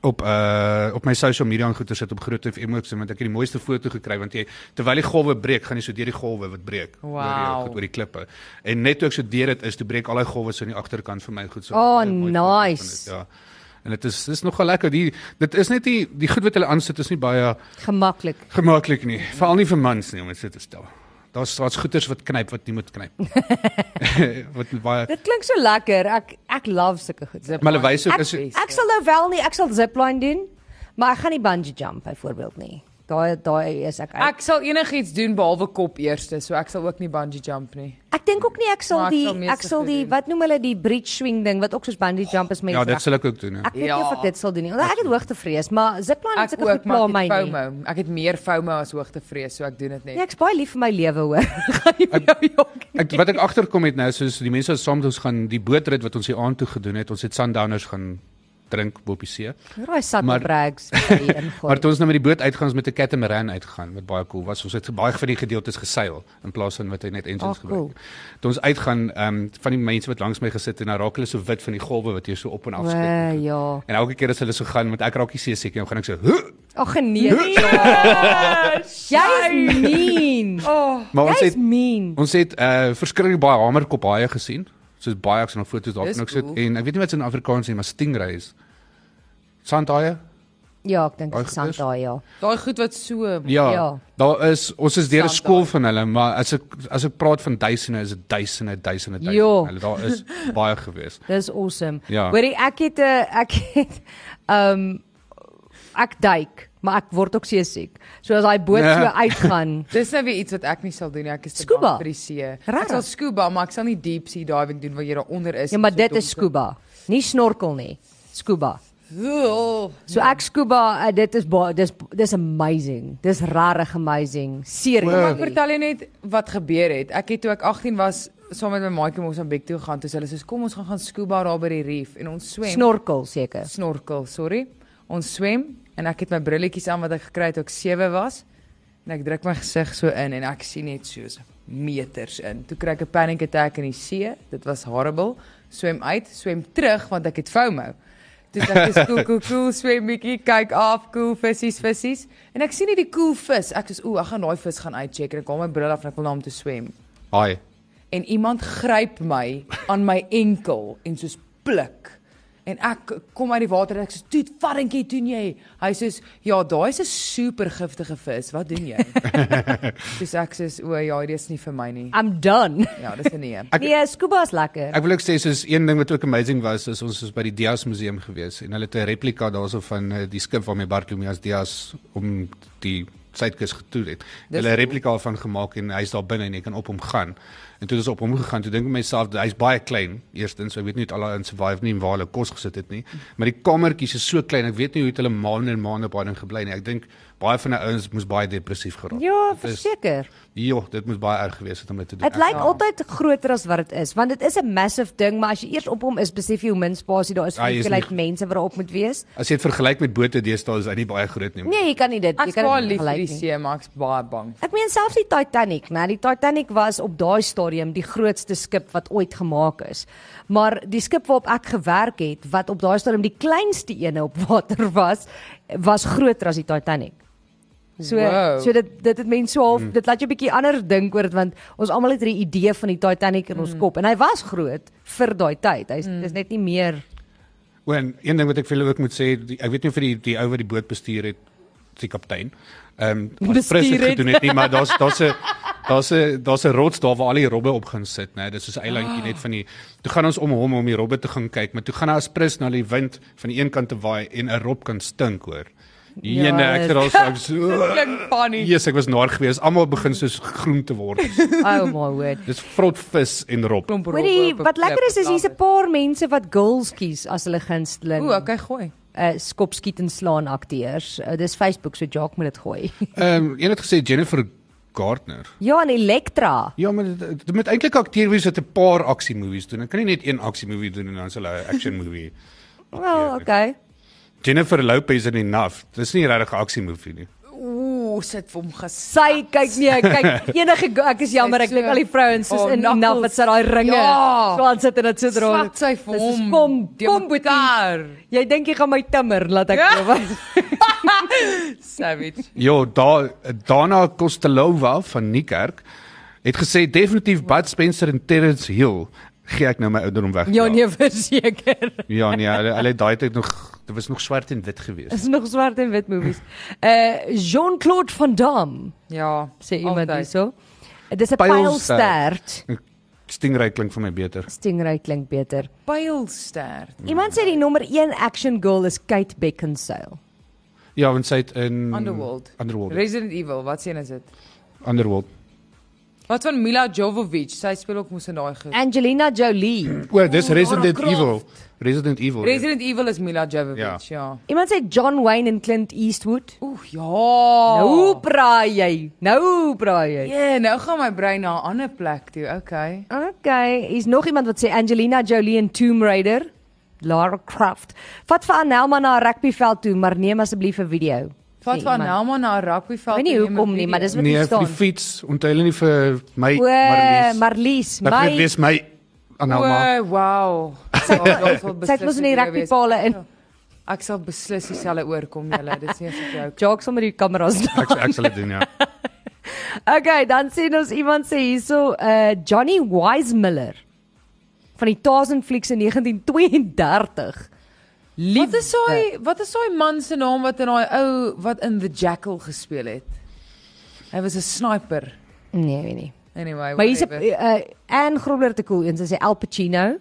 Speaker 3: op uh op my social media en goeie sit op Groot FM ook, so, want ek het die mooiste foto gekry want jy terwyl die golwe breek, gaan jy so deur die golwe wat breek oor die
Speaker 2: Wow.
Speaker 3: goed oor die klippe. En net toe ek so deur dit is, toe breek al daai golwe so aan die agterkant vir my goed so.
Speaker 1: Oh,
Speaker 3: Baie mooi foto van
Speaker 1: nice.
Speaker 3: Dit, ja. En dit is dis nogal lekker. Die dit is net die die goed wat hulle aansit is nie baie
Speaker 1: Gemaklik.
Speaker 3: Gemaklik nie, veral nie vir mans nie om dit so te stel. Daar's daar's goeters wat knyp wat nie moet knyp. wat baie
Speaker 1: Dit klink so lekker. Ek ek love sulke goed.
Speaker 2: Zip
Speaker 3: Maar hulle
Speaker 2: line.
Speaker 3: wys ook
Speaker 1: Ek,
Speaker 3: as jy-
Speaker 1: ek sal nou wel nie, ek sal zipline doen, maar ek gaan nie bungee jump byvoorbeeld nie. Daai daai is ek uit.
Speaker 2: Ek sal enigiets doen behalwe kop eerste, so ek sal ook nie bungee jump nie.
Speaker 1: Ek dink ook nie ek sal
Speaker 2: Maar ek
Speaker 1: die
Speaker 2: sal meeste
Speaker 1: ek sal
Speaker 2: goed
Speaker 1: die
Speaker 2: doen.
Speaker 1: wat noem hulle die bridge swing ding wat ook soos bungee jump is met
Speaker 3: Ja,
Speaker 1: die vrag.
Speaker 3: dit sal ek ook doen.
Speaker 1: Ek weet nie
Speaker 2: Ja.
Speaker 1: of ek dit sal doen nie. Want ek het hoogtevrees, maar zipline is
Speaker 2: Ek
Speaker 1: ek 'n
Speaker 2: ook
Speaker 1: goed pla
Speaker 2: maar
Speaker 1: my
Speaker 2: ek het
Speaker 1: nie.
Speaker 2: FOMO. Ek het meer FOMO as hoogtevrees, so ek doen dit
Speaker 1: Nee,
Speaker 2: net.
Speaker 1: ek's baie lief vir my lewe hoor.
Speaker 3: Ek wat ek agterkom het nou soos die mense wat saam met ons gaan die bootrit wat ons hier aan toe gedoen het, ons het sundowners gaan drink op die see.
Speaker 1: Hoor daai sakke
Speaker 3: Maar-
Speaker 1: brags wat jy
Speaker 3: Maar
Speaker 1: ingooi.
Speaker 3: toe ons nou met die boot uitgaan, ons met 'n catamaran uitgaan wat baie cool was. Ons het baie van die gedeeltes geseil in plaas van wat hy net engines
Speaker 1: Ah,
Speaker 3: oh,
Speaker 1: cool.
Speaker 3: gebruik. Cool. Toe ons uitgaan, ehm um, van die mense wat langs my gesit het, en dan raak hulle so wit van die golwe wat jy so op en af skiet.
Speaker 1: Wee, ja.
Speaker 3: En elke keer as hulle so gaan, want ek raak nie seesiek nie, dan gaan ek so, "Huh!"
Speaker 1: Ag nee. Jy is mean.
Speaker 2: Oh,
Speaker 3: maar ons
Speaker 1: Jy is
Speaker 3: het
Speaker 1: mean.
Speaker 3: Ons het uh verskriklik baie hamerkop haie gesien. Soos baie ek sien op
Speaker 2: Dis
Speaker 3: foto's daarvan ook sit
Speaker 2: cool.
Speaker 3: en ek weet nie wat se in Afrikaans is nie, maar stingrays. Sandhaie?
Speaker 1: Ja, ek dink
Speaker 3: Daai
Speaker 1: dis sant
Speaker 3: goeders?
Speaker 1: daai ja.
Speaker 2: daai goed wat so
Speaker 3: Ja, ja.
Speaker 1: Ja.
Speaker 3: Daar is ons is deur 'n
Speaker 2: Sandhaai.
Speaker 3: skool van hulle, maar as ek as ek praat van duisende, is dit duisende, duisende, duisende.
Speaker 1: Jo.
Speaker 3: van Hulle daar is baie gewees.
Speaker 1: Dis awesome.
Speaker 3: Ja.
Speaker 1: Hoorie, ek het 'n ek het um ek duik, maar ek word ook seesiek. So as daai boot so
Speaker 3: Ja.
Speaker 1: uitgaan.
Speaker 2: Dis nou weer iets wat ek nie sal doen nie. Ek is te
Speaker 1: Scuba?
Speaker 2: bang vir die see.
Speaker 1: Rarig.
Speaker 2: Ek sal scuba, maar ek sal nie deep sea diving doen waar jy daar onder is.
Speaker 1: Ja, maar
Speaker 2: So
Speaker 1: dit
Speaker 2: donker.
Speaker 1: is scuba. Nie snorkel nie. Scuba.
Speaker 2: Ugh.
Speaker 1: So
Speaker 3: Ja.
Speaker 1: ek scuba, uh, dit is ba- dis dis amazing. Dis regtig amazing.
Speaker 2: Kom
Speaker 3: Wow.
Speaker 2: ek
Speaker 1: Seriously.
Speaker 2: vertel jou net wat gebeur het. Ek het toe ek 18 was saam met my maatjie Mosambiek toe gaan, toe sê hulle soos kom ons gaan gaan scuba daar by die reef en ons swem.
Speaker 1: Snorkel seker.
Speaker 2: snorkel, sorry. Ons swem en ek het my brilletjies aan wat ek gekry het toe ek 7 was en ek druk my gesig so in en ek sien net soos meters in. Toe kry ek 'n panic attack in die see. Dit was horrible. Swem uit, swem terug want ek het FOMO. Toe dink ek, dis "Cool, cool, cool, swem bietjie, kyk af, cool visse, visse." En ek sien nie die cool vis. Ek sê, "Ooh, ek gaan daai vis gaan uitcheck." En ek haal my bril af en ek wil na hom toe swem
Speaker 3: Haai.
Speaker 2: en iemand gryp my aan my enkel en soos pluk. En ek kom uit die water en ek sê, "Toet, varentjie, doen jy?" Hy sê, "Ja, daai is 'n super giftige vis. Wat doen jy?" Dis ek sê, "O ja, dit is nie vir my nie."
Speaker 1: I'm done.
Speaker 2: Ja, dis 'n nee.
Speaker 3: Ek-
Speaker 1: nee, scuba is lekker.
Speaker 3: Ek wil ook sê soos een ding wat ook amazing was is ons was by die Dias museum gewees en hulle het 'n replika daarso van eh, die skip waarmee Bartolomeus Dias om die suidkus getoer het.
Speaker 2: Dis
Speaker 3: Hulle 'n
Speaker 2: cool.
Speaker 3: replika van gemaak en hy's daar binne en jy kan op hom gaan. En toe het ons op hom gegaan, toe dink ek myself dat hy's baie klein. Eerstens, so ek weet nie of al in survive nie en waar hulle kos gesit het nie, maar die kamertjies is so klein. Ek weet nie hoe het hulle maande en maande op daai ding gebly nie. Ek dink baie van die ouens moes baie depressief geraak.
Speaker 1: Ja,
Speaker 3: Dit is-
Speaker 1: verseker.
Speaker 3: Jo, dit moes baie erg gewees het om dit te doen.
Speaker 1: Dit
Speaker 3: Ek-
Speaker 1: lyk altyd groter as wat dit is, want dit is 'n massive ding, maar as jy eers op hom is, besef jy hoe min spasie daar is vir
Speaker 3: Hy
Speaker 1: die
Speaker 3: is
Speaker 1: hoeveelheid
Speaker 3: nie-
Speaker 1: mense wat daarop moet wees.
Speaker 3: As jy dit vergelyk met bote deesdae is hy nie baie groot nie.
Speaker 1: Nee, jy kan nie dit, jy
Speaker 2: Ek's
Speaker 1: kan
Speaker 2: baie
Speaker 1: dit nie
Speaker 2: lief vir die
Speaker 1: vergelyk nie.
Speaker 2: see, maar ek's baie bang.
Speaker 1: Ek meen selfs die Titanic, né? Die Titanic was op daai stadium die grootste skip wat ooit gemaak is. Maar die skip waarop ek gewerk het, wat op daai stadium die kleinste ene op water was, was groter as die Titanic. So
Speaker 2: Wow.
Speaker 1: so dit dit het mense so half dit laat jou 'n bietjie anders dink oor dit want ons almal het hierdie idee van die Titanic in ons kop en hy was groot vir daai tyd. Hy's dis net nie meer
Speaker 3: O, en een ding wat ek vir julle ook moet sê, die, ek weet nie of vir die die ou wat die boot bestuur het, die kaptein. Ehm um, ons prins
Speaker 1: Bestuur
Speaker 3: het
Speaker 1: het.
Speaker 3: gedoen het nie, maar daar's daar's 'n daar's 'n daar's 'n rots daar waar al die robbe op gaan sit, né? Dis soos 'n
Speaker 1: Ah.
Speaker 3: eilandjie net van die toe gaan ons om hom om die robbe te gaan kyk, maar toe gaan hy as prins na die wind van die een kant te waai en 'n rob kan stink hoor.
Speaker 1: Ja,
Speaker 3: Ja, nee, ek het
Speaker 1: dit-
Speaker 3: al so ek so
Speaker 2: Klink funny.
Speaker 3: Jesus, ek was naar gewees. Almal begin soos groen te word.
Speaker 1: oh my word.
Speaker 3: Dis vrot vis en rob.
Speaker 2: Klomp
Speaker 1: Hoorie,
Speaker 2: robbe op 'n
Speaker 1: wat lekker is
Speaker 2: klip,
Speaker 1: is hier's 'n
Speaker 2: love
Speaker 1: paar mense wat girls kies as hulle
Speaker 2: it.
Speaker 1: gunsteling.
Speaker 2: Ooh, okay, gooi.
Speaker 1: uh, skop skiet en slaan akteurs. Uh, dis Facebook so Jacques moet dit gooi.
Speaker 3: Ehm um, een het gesê Jennifer Gardner.
Speaker 1: ja, en Elektra.
Speaker 3: Ja, maar dit, dit moet eintlik akteurs wat 'n paar aksiemovies doen. Ek kan nie net een aksiemovie doen en dan is hulle 'n action movie.
Speaker 1: Wel, okay.
Speaker 3: Jennifer Lopez in Enough. Dis nie regtig 'n aksiemovie nie.
Speaker 2: Ooh, sit vir hom ges.
Speaker 1: Sy kyk nee, kyk enige go- ek is jammer ek
Speaker 2: Sy
Speaker 1: dink al die vrouens soos
Speaker 2: Oh,
Speaker 1: in
Speaker 2: knuckles.
Speaker 1: Naf wat sit daai ringe.
Speaker 2: Ja.
Speaker 1: So aan sit en dit so dra.
Speaker 2: Swat sy vir
Speaker 1: Dis
Speaker 2: hom.
Speaker 1: Kom,
Speaker 2: die
Speaker 1: kom boetie.
Speaker 2: mekaar.
Speaker 1: Jy dink jy gaan my timmer laat ek
Speaker 2: Ja.
Speaker 1: nou wat.
Speaker 2: Savage.
Speaker 3: Ja, da Dana Kostelova van Niekerk het gesê definitief Bud Spencer en Terence Hill gee ek nou my ouderdom weg.
Speaker 1: Ja nee, verseker.
Speaker 3: Ja nee, hulle hulle het daai tyd nog dit was nog swart en wit geweest.
Speaker 1: Dis nog swart en wit movies. Uh Jean-Claude Van Damme
Speaker 2: Ja,
Speaker 1: sê iemand
Speaker 2: altyd.
Speaker 1: hierso. Eh, Dis 'n
Speaker 3: Pylstert.
Speaker 1: pylstert.
Speaker 3: Stingray klink vir my beter.
Speaker 1: Stingray klink beter.
Speaker 2: Pylstert.
Speaker 1: Iemand sê die nommer 1 action girl is Kate Beckinsale.
Speaker 3: Ja, want sy het in
Speaker 2: Underworld.
Speaker 3: Underworld.
Speaker 2: Resident Evil, wat sien is dit?
Speaker 3: Underworld.
Speaker 2: Wat van Mila Jovovich? Sy speel ook moes in daai goed.
Speaker 1: Angelina Jolie.
Speaker 3: O, dis Resident
Speaker 2: Oh, Lara Croft.
Speaker 3: Evil. Resident Evil. ja.
Speaker 2: Resident Evil is Mila Jovovich, ja.
Speaker 1: Iemand sê John Wayne en Clint Eastwood.
Speaker 2: Oeh, ja.
Speaker 1: Nou braai jy. Nou braai jy.
Speaker 2: Ja, nou gaan my brein na 'n ander plek toe. Okay.
Speaker 1: Okay, hier's nog iemand wat sê Angelina Jolie en Tomb Raider. Lara Croft. Vat vir Anelma na 'n rugbyveld toe, maar neem asseblief 'n video.
Speaker 2: Vat van Nelma na 'n
Speaker 1: Ek
Speaker 2: rugbyveld.
Speaker 1: weet nie
Speaker 2: en neem 'n
Speaker 1: hoekom nie, maar dis
Speaker 2: video.
Speaker 1: wat
Speaker 3: Nee,
Speaker 1: hier
Speaker 3: vir
Speaker 1: staan.
Speaker 3: die fiets onthou hulle nie vir my
Speaker 1: O, Marlies,
Speaker 3: Marlies. Dat moet
Speaker 1: my
Speaker 3: wees my Anelma.
Speaker 2: O, wow.
Speaker 1: sy het mos in die rugbypale in.
Speaker 2: Ek sal beslis dieselfde oorkom julle. Dis nie 'n joke.
Speaker 1: Jokes om met die kameras daar.
Speaker 3: Ek ek sal dit doen ja.
Speaker 1: Okay, dan sien ons iemand sê hierso uh Johnny Weissmuller van die Tarzan flieks in 1932.
Speaker 2: Wat is
Speaker 1: Eh,
Speaker 2: daai wat is daai man se naam wat in daai ou wat in The Jackal gespeel het? Hy was 'n sniper.
Speaker 1: Nee, weet nie.
Speaker 2: Anyway,
Speaker 1: Maar hier's 'n
Speaker 2: whatever.
Speaker 1: uh Anne Grobler te cool, ons sê Al Pacino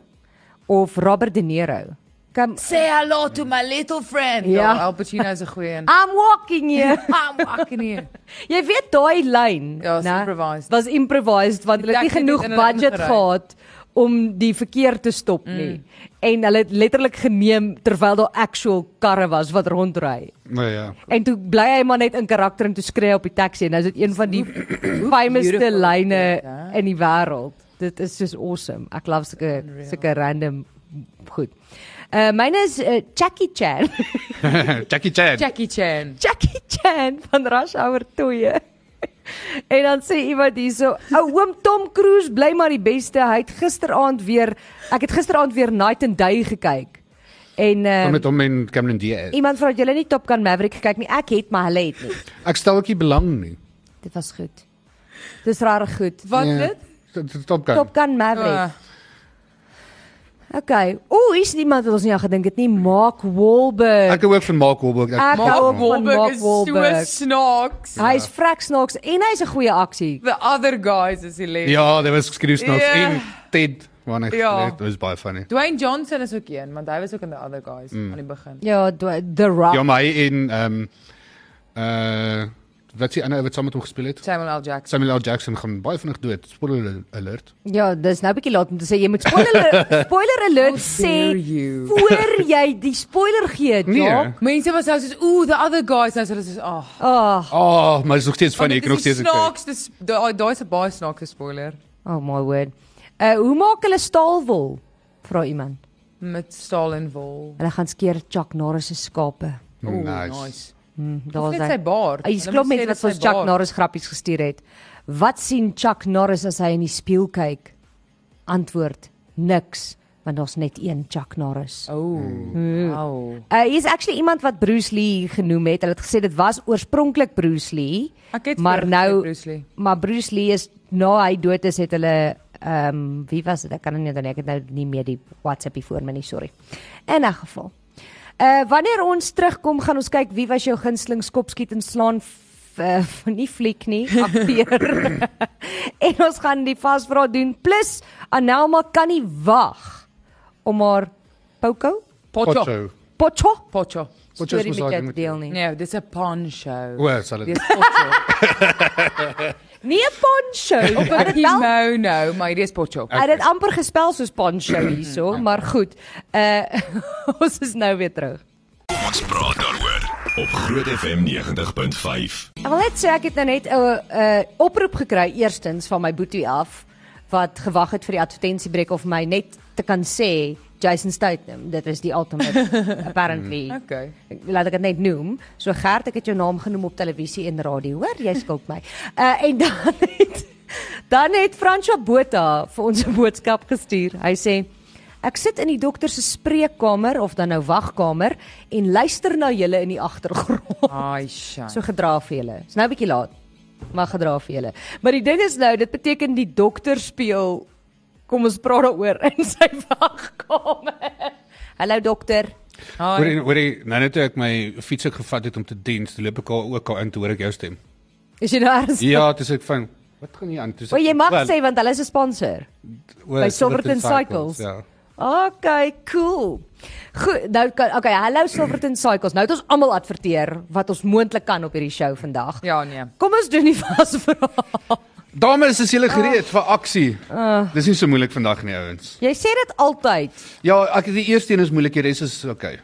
Speaker 1: of Robert De Niro. Kom
Speaker 2: Say hello to my little friend. Ah,
Speaker 1: Ja. Ah,
Speaker 2: Ja, Al Pacino is 'n goeie een.
Speaker 1: I'm walking here.
Speaker 2: I'm fucking here.
Speaker 1: Jy weet daai lyn,
Speaker 2: Ja, is
Speaker 1: né,
Speaker 2: improvised.
Speaker 1: Was improvised want hulle het nie
Speaker 2: Ek het dit
Speaker 1: genoeg
Speaker 2: in hulle
Speaker 1: budget
Speaker 2: ingery.
Speaker 1: gehad om die verkeer te stop
Speaker 2: Mm.
Speaker 1: nie. En hulle het letterlik geneem terwyl daar actual karre was wat rondry.
Speaker 3: Nou ja.
Speaker 1: En toe bly hy maar net in karakter en toe skree hy op die taxi en nou is dit een van die famousste
Speaker 2: beautiful
Speaker 1: lyne
Speaker 2: is dit, hè?
Speaker 1: in die wêreld. Dit is soos awesome. Ek love sulke sulke random goed. Uh myne is uh, Jackie Chan.
Speaker 3: Jackie Chan.
Speaker 2: Jackie Chan.
Speaker 1: Jackie Chan van Rush Hour 2. en dan sê iemand hierso, ou oom Tom Cruise bly maar die beste. Hy het gisteraand weer ek het gisteraand weer Night and Day gekyk. En
Speaker 3: Kom
Speaker 1: uh,
Speaker 3: met hom en Cameron Diaz.
Speaker 1: iemand vra dat jy nie Top Gun Maverick gekyk nie. Ek het, maar hulle het nie.
Speaker 3: Ek stel ook nie belang nie.
Speaker 1: Dit was goed. Dis rarig goed.
Speaker 2: Wat dit?
Speaker 3: dit? Top Gun.
Speaker 2: Ah,
Speaker 1: Top Gun Maverick.
Speaker 2: Uh,
Speaker 1: Okay. Ooh, is iemand wat ons nie aan gedink het nie. Mark Wahlberg.
Speaker 3: Ek hou ook van Mark Wahlberg. Ek,
Speaker 1: Ek hou
Speaker 2: Mark
Speaker 1: ook van
Speaker 2: Wahlberg
Speaker 1: Mark
Speaker 2: is so
Speaker 1: Wahlberg.
Speaker 2: snaaks.
Speaker 3: Ja.
Speaker 1: Hy's vrek snaaks en hy's 'n goeie aksie.
Speaker 2: The other guys is hilarious.
Speaker 3: ja, daar was skreeusnaaks
Speaker 2: Ja.
Speaker 3: en Ted wanneer
Speaker 2: Ja.
Speaker 3: ja. dit was baie funny.
Speaker 2: Dwayne Johnson is ook een, want hy was ook in the other guys
Speaker 3: Mm.
Speaker 2: aan die begin.
Speaker 1: Ja, Dw- The Rock.
Speaker 3: Ja, maar hy en ehm uh wat sy ander wat saam met hom gespeel het.
Speaker 2: Samuel L. Jackson.
Speaker 3: Samuel L. Jackson gaan baie vinnig dood. Spoiler alert.
Speaker 1: Ja, dis nou 'n bietjie laat om te sê jy moet spoiler spoiler alert
Speaker 2: dare
Speaker 1: sê
Speaker 2: you.
Speaker 1: voor jy die spoiler gee,
Speaker 3: Nee.
Speaker 1: ja.
Speaker 2: Mense was nou soos, "Ooh, the other guys." Nou so dis is, "Ag."
Speaker 1: Ag,
Speaker 3: Oh, maar dit is nog steeds
Speaker 2: Want
Speaker 3: funny.
Speaker 2: dit
Speaker 3: Ek kan nog
Speaker 2: is die
Speaker 3: steeds
Speaker 2: snaaks, dis daai daai's 'n baie snaakse spoiler
Speaker 1: oh. oh my word. Uh hoe maak hulle staalwol? Vra iemand.
Speaker 2: met staal en wol.
Speaker 1: Hulle gaan skeer Chuck Norris se skape.
Speaker 2: Ooh,
Speaker 3: Nice.
Speaker 1: Hm, Daar's
Speaker 2: Dit is sy
Speaker 1: hy.
Speaker 2: baard.
Speaker 1: Hy's klop met wat vir Chuck Norris grappies gestuur het. Wat sien Chuck Norris as hy in die spieël kyk? Antwoord: niks, want daar's net een Chuck Norris.
Speaker 2: Oh. Ooh. Wow.
Speaker 1: Uh hier is actually iemand wat Bruce Lee genoem het. Hulle het gesê dit was oorspronklik Bruce Lee.
Speaker 2: Ek het
Speaker 1: Maar
Speaker 2: voorgesê,
Speaker 1: nou-
Speaker 2: Bruce Lee.
Speaker 1: Maar Bruce Lee is na hy dood is het hulle ehm um, wie was dit? Ek kan nie onthou nie. Ek het nou nie meer die WhatsApp hier voor my nie, sorry. In 'n geval. Uh wanneer ons terugkom gaan ons kyk wie was jou gunsteling skopskiet en slaan f- eh, van nie fliek nie, akteur. en ons gaan die vasvraag doen plus Anelma kan nie wag om haar Poco
Speaker 2: Pocho.
Speaker 3: Potso.
Speaker 1: Pocho
Speaker 2: Pocho.
Speaker 3: Potso is
Speaker 1: storie met
Speaker 3: mos
Speaker 1: jou
Speaker 3: daai ding
Speaker 1: te
Speaker 3: met-
Speaker 1: deel nie.
Speaker 2: Nee, dis 'n pawn show.
Speaker 1: ja,
Speaker 3: O, sal dit.
Speaker 2: Dis Pocho.
Speaker 1: Nee, poncho. Ek het dit wel
Speaker 2: Nou nou, maar hierdie is Pocho.
Speaker 1: Hy het dit amper gespel soos poncho hierso, maar goed. Uh ons is nou weer terug.
Speaker 5: Kom ons praat daaroor op Groot FM 90.5.
Speaker 1: Wel net sê ek het nou net 'n uh, oproep gekry eerstens van my boetie af wat gewag het vir die advertensiebreek of my net te kan sê Jason Statham, dit is die ultimate apparently.
Speaker 2: Okay.
Speaker 1: Ek- Laat ek dit net noem. So Gert, ek het jou naam genoem op televisie en radio, hoor? Jy skuld my. Uh en dan het dan het Franswa Botha vir ons 'n boodskap gestuur. Hy sê Ek sit in die dokter se spreekkamer of dan nou wagkamer en luister na julle in die agtergrond.
Speaker 2: Ai, shit.
Speaker 1: So gedra vir julle. Dis nou 'n bietjie laat. Maar gedra vir julle. Maar die ding is nou, dit beteken die dokter speel kom ons praat daaroor in sy wagkamer. Hallo dokter.
Speaker 3: Hoor
Speaker 2: Hi.
Speaker 3: en hoor jy, nou net toe ek my fiets ook gevat het om te diens, toe loop ek al ook al in toe hoor ek jou stem.
Speaker 1: Is jy nou ernstig?
Speaker 3: Ja, dis ek van wat gaan hier aan? Dis
Speaker 1: O, jy mag
Speaker 3: Wel,
Speaker 1: sê want hulle is 'n sponsor.
Speaker 3: o,
Speaker 1: by Silverton Cycles.
Speaker 3: Ja.
Speaker 1: Okay, cool. Goed, nou kan okay, hallo Silverton Cycles. Nou het ons almal adverteer wat ons moontlik kan op hierdie show vandag.
Speaker 2: Ja, nee.
Speaker 1: Kom ons doen die vasvraag.
Speaker 3: Dames, is
Speaker 1: Ah.
Speaker 3: julle gereed vir aksie? Dis nie so moeilik vandag nie, ouens.
Speaker 1: Jy sê dit altyd.
Speaker 3: Ja, ek die eerste een is moeilik, die res is okay.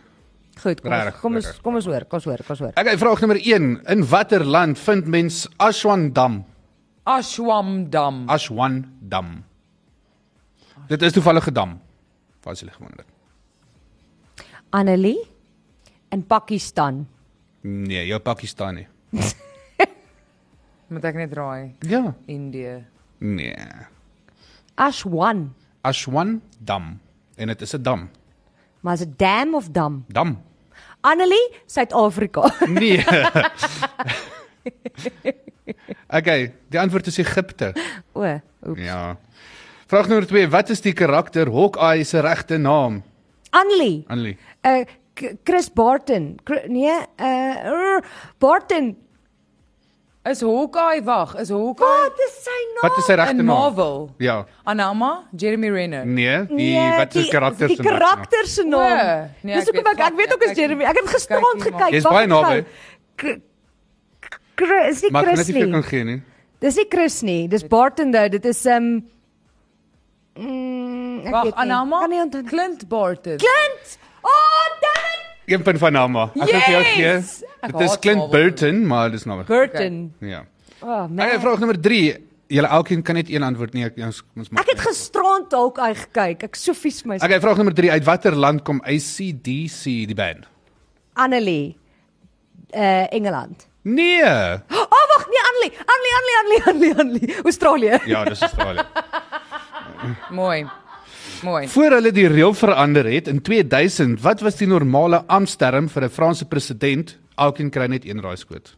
Speaker 1: Goed, kom ons
Speaker 3: Regtig,
Speaker 1: kom ons
Speaker 3: regtig.
Speaker 1: kom ons hoor, kom ons hoor, kom ons hoor.
Speaker 3: Ek vraag nommer 1, in watter land vind mens Ashwandam?
Speaker 2: Ashwamdam.
Speaker 3: Ashwandam. Dit is toevallig 'n dam. Waar is hulle gewonder het?
Speaker 1: Annelie in Pakistan.
Speaker 3: Nee, jou Pakistan nie.
Speaker 2: Moet ek net raai.
Speaker 3: Ja.
Speaker 2: Indië.
Speaker 3: Nee.
Speaker 1: Ashwan,
Speaker 3: Ashwandam en dit is 'n dam.
Speaker 1: maar is dit dam of dam?
Speaker 3: Dam.
Speaker 1: Annelie, Suid-Afrika.
Speaker 3: Nee. okay, die antwoord is Egipte.
Speaker 1: o, oeps.
Speaker 3: Ja. Vraag nommer 2, wat is die karakter Hawkeye se regte naam?
Speaker 1: Annelie,
Speaker 3: Annelie.
Speaker 1: uh K- Chris Barton. Chri- Nee, uh rr, Barton.
Speaker 2: Is Hawkeye wag, is Hawkeye
Speaker 1: Wat is sy naam?
Speaker 3: Wat is sy regte
Speaker 2: in
Speaker 3: naam?
Speaker 2: Marvel?
Speaker 3: Ja.
Speaker 2: Anama, Jeremy Renner.
Speaker 3: Nee, die nee, wat is karakter se
Speaker 1: se naam? Die karakter se naam.
Speaker 2: O, nee,
Speaker 1: Dis
Speaker 2: ek
Speaker 1: hoekom
Speaker 2: weet
Speaker 1: ek ek weet ook as
Speaker 2: glad nie.
Speaker 1: Jeremy. Ek het
Speaker 2: Kyk
Speaker 1: gisteraand
Speaker 2: nie, maar-
Speaker 1: gekyk.
Speaker 3: Jy's
Speaker 1: wacht,
Speaker 3: baie
Speaker 1: ek gou.
Speaker 3: naby.
Speaker 1: K- k- Chris, is nie
Speaker 3: Maar Ja. ek kan
Speaker 1: Chris nee.
Speaker 3: net nie vir jou
Speaker 1: nie.
Speaker 3: kan gee nie.
Speaker 1: Dis nie Chris nie. Dis Barton though. Dit is um mm, ek
Speaker 2: Wag,
Speaker 1: weet nie.
Speaker 2: Anama?
Speaker 1: Kan nie onthou. nie.
Speaker 2: Clint Barton.
Speaker 1: Clint. Oh, damn.
Speaker 3: Een punt van Nama. Ek wil vir jou gee.
Speaker 2: Yes! Ek
Speaker 3: Dit is
Speaker 2: haat
Speaker 3: Clint
Speaker 2: Marvel.
Speaker 3: Burton, maar dis nou.
Speaker 1: Burton.
Speaker 3: Ja.
Speaker 1: Oh,
Speaker 3: Okay,
Speaker 1: man.
Speaker 3: vraag nommer 3. Julle elkeen kan net een antwoord nee, ek ons ons maak.
Speaker 1: Ek het gisterand dalk uit gekyk. Ek so vies my.
Speaker 3: Okay, vraag nommer 3. Uit watter land kom ACDC die band?
Speaker 1: Annelie. Uh Engeland.
Speaker 3: Nee.
Speaker 1: Oh wag, nee Annelie. Annelie, Annelie, Annelie, Annelie, Annelie. Australië.
Speaker 3: Ja, dis Australië.
Speaker 2: Mooi. Mooi.
Speaker 3: Voor hulle die reël verander het in 2000, wat was die normale ampsterm vir 'n Franse president? Elkeen kry net een raaiskoot.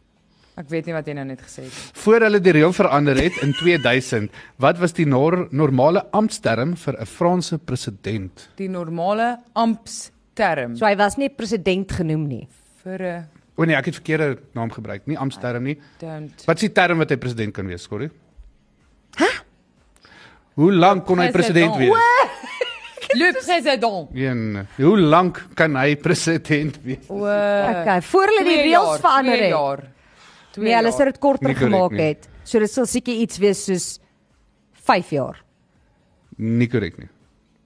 Speaker 2: Ek weet nie wat jy nou net gesê het.
Speaker 3: Voor hulle die reël verander het in 2000, wat was die nor normale amptsterm vir 'n Franse president?
Speaker 2: Die normale ampsterm
Speaker 1: So hy was nie president genoem nie.
Speaker 2: vir 'n
Speaker 3: O nee, ek het verkeerde naam gebruik, nie amptsterm nie.
Speaker 2: don't.
Speaker 3: Wat is die term wat hy president kan wees, Corrie? Hæ? Hoe lank kon hy president
Speaker 2: President.
Speaker 3: wees?
Speaker 2: Le président.
Speaker 3: Een, hoe lank kan hy president wees?
Speaker 2: O.
Speaker 1: Okay, voor hulle die
Speaker 2: Eh, twee
Speaker 1: reëls
Speaker 2: jaar,
Speaker 1: verander
Speaker 2: twee
Speaker 1: het.
Speaker 2: jaar. Twee
Speaker 1: Nee, hulle sou dit korter
Speaker 3: Nie correct
Speaker 1: gemaak
Speaker 3: nie.
Speaker 1: het. So dit sal seker iets wees soos 5 jaar.
Speaker 3: Nie korrek nie.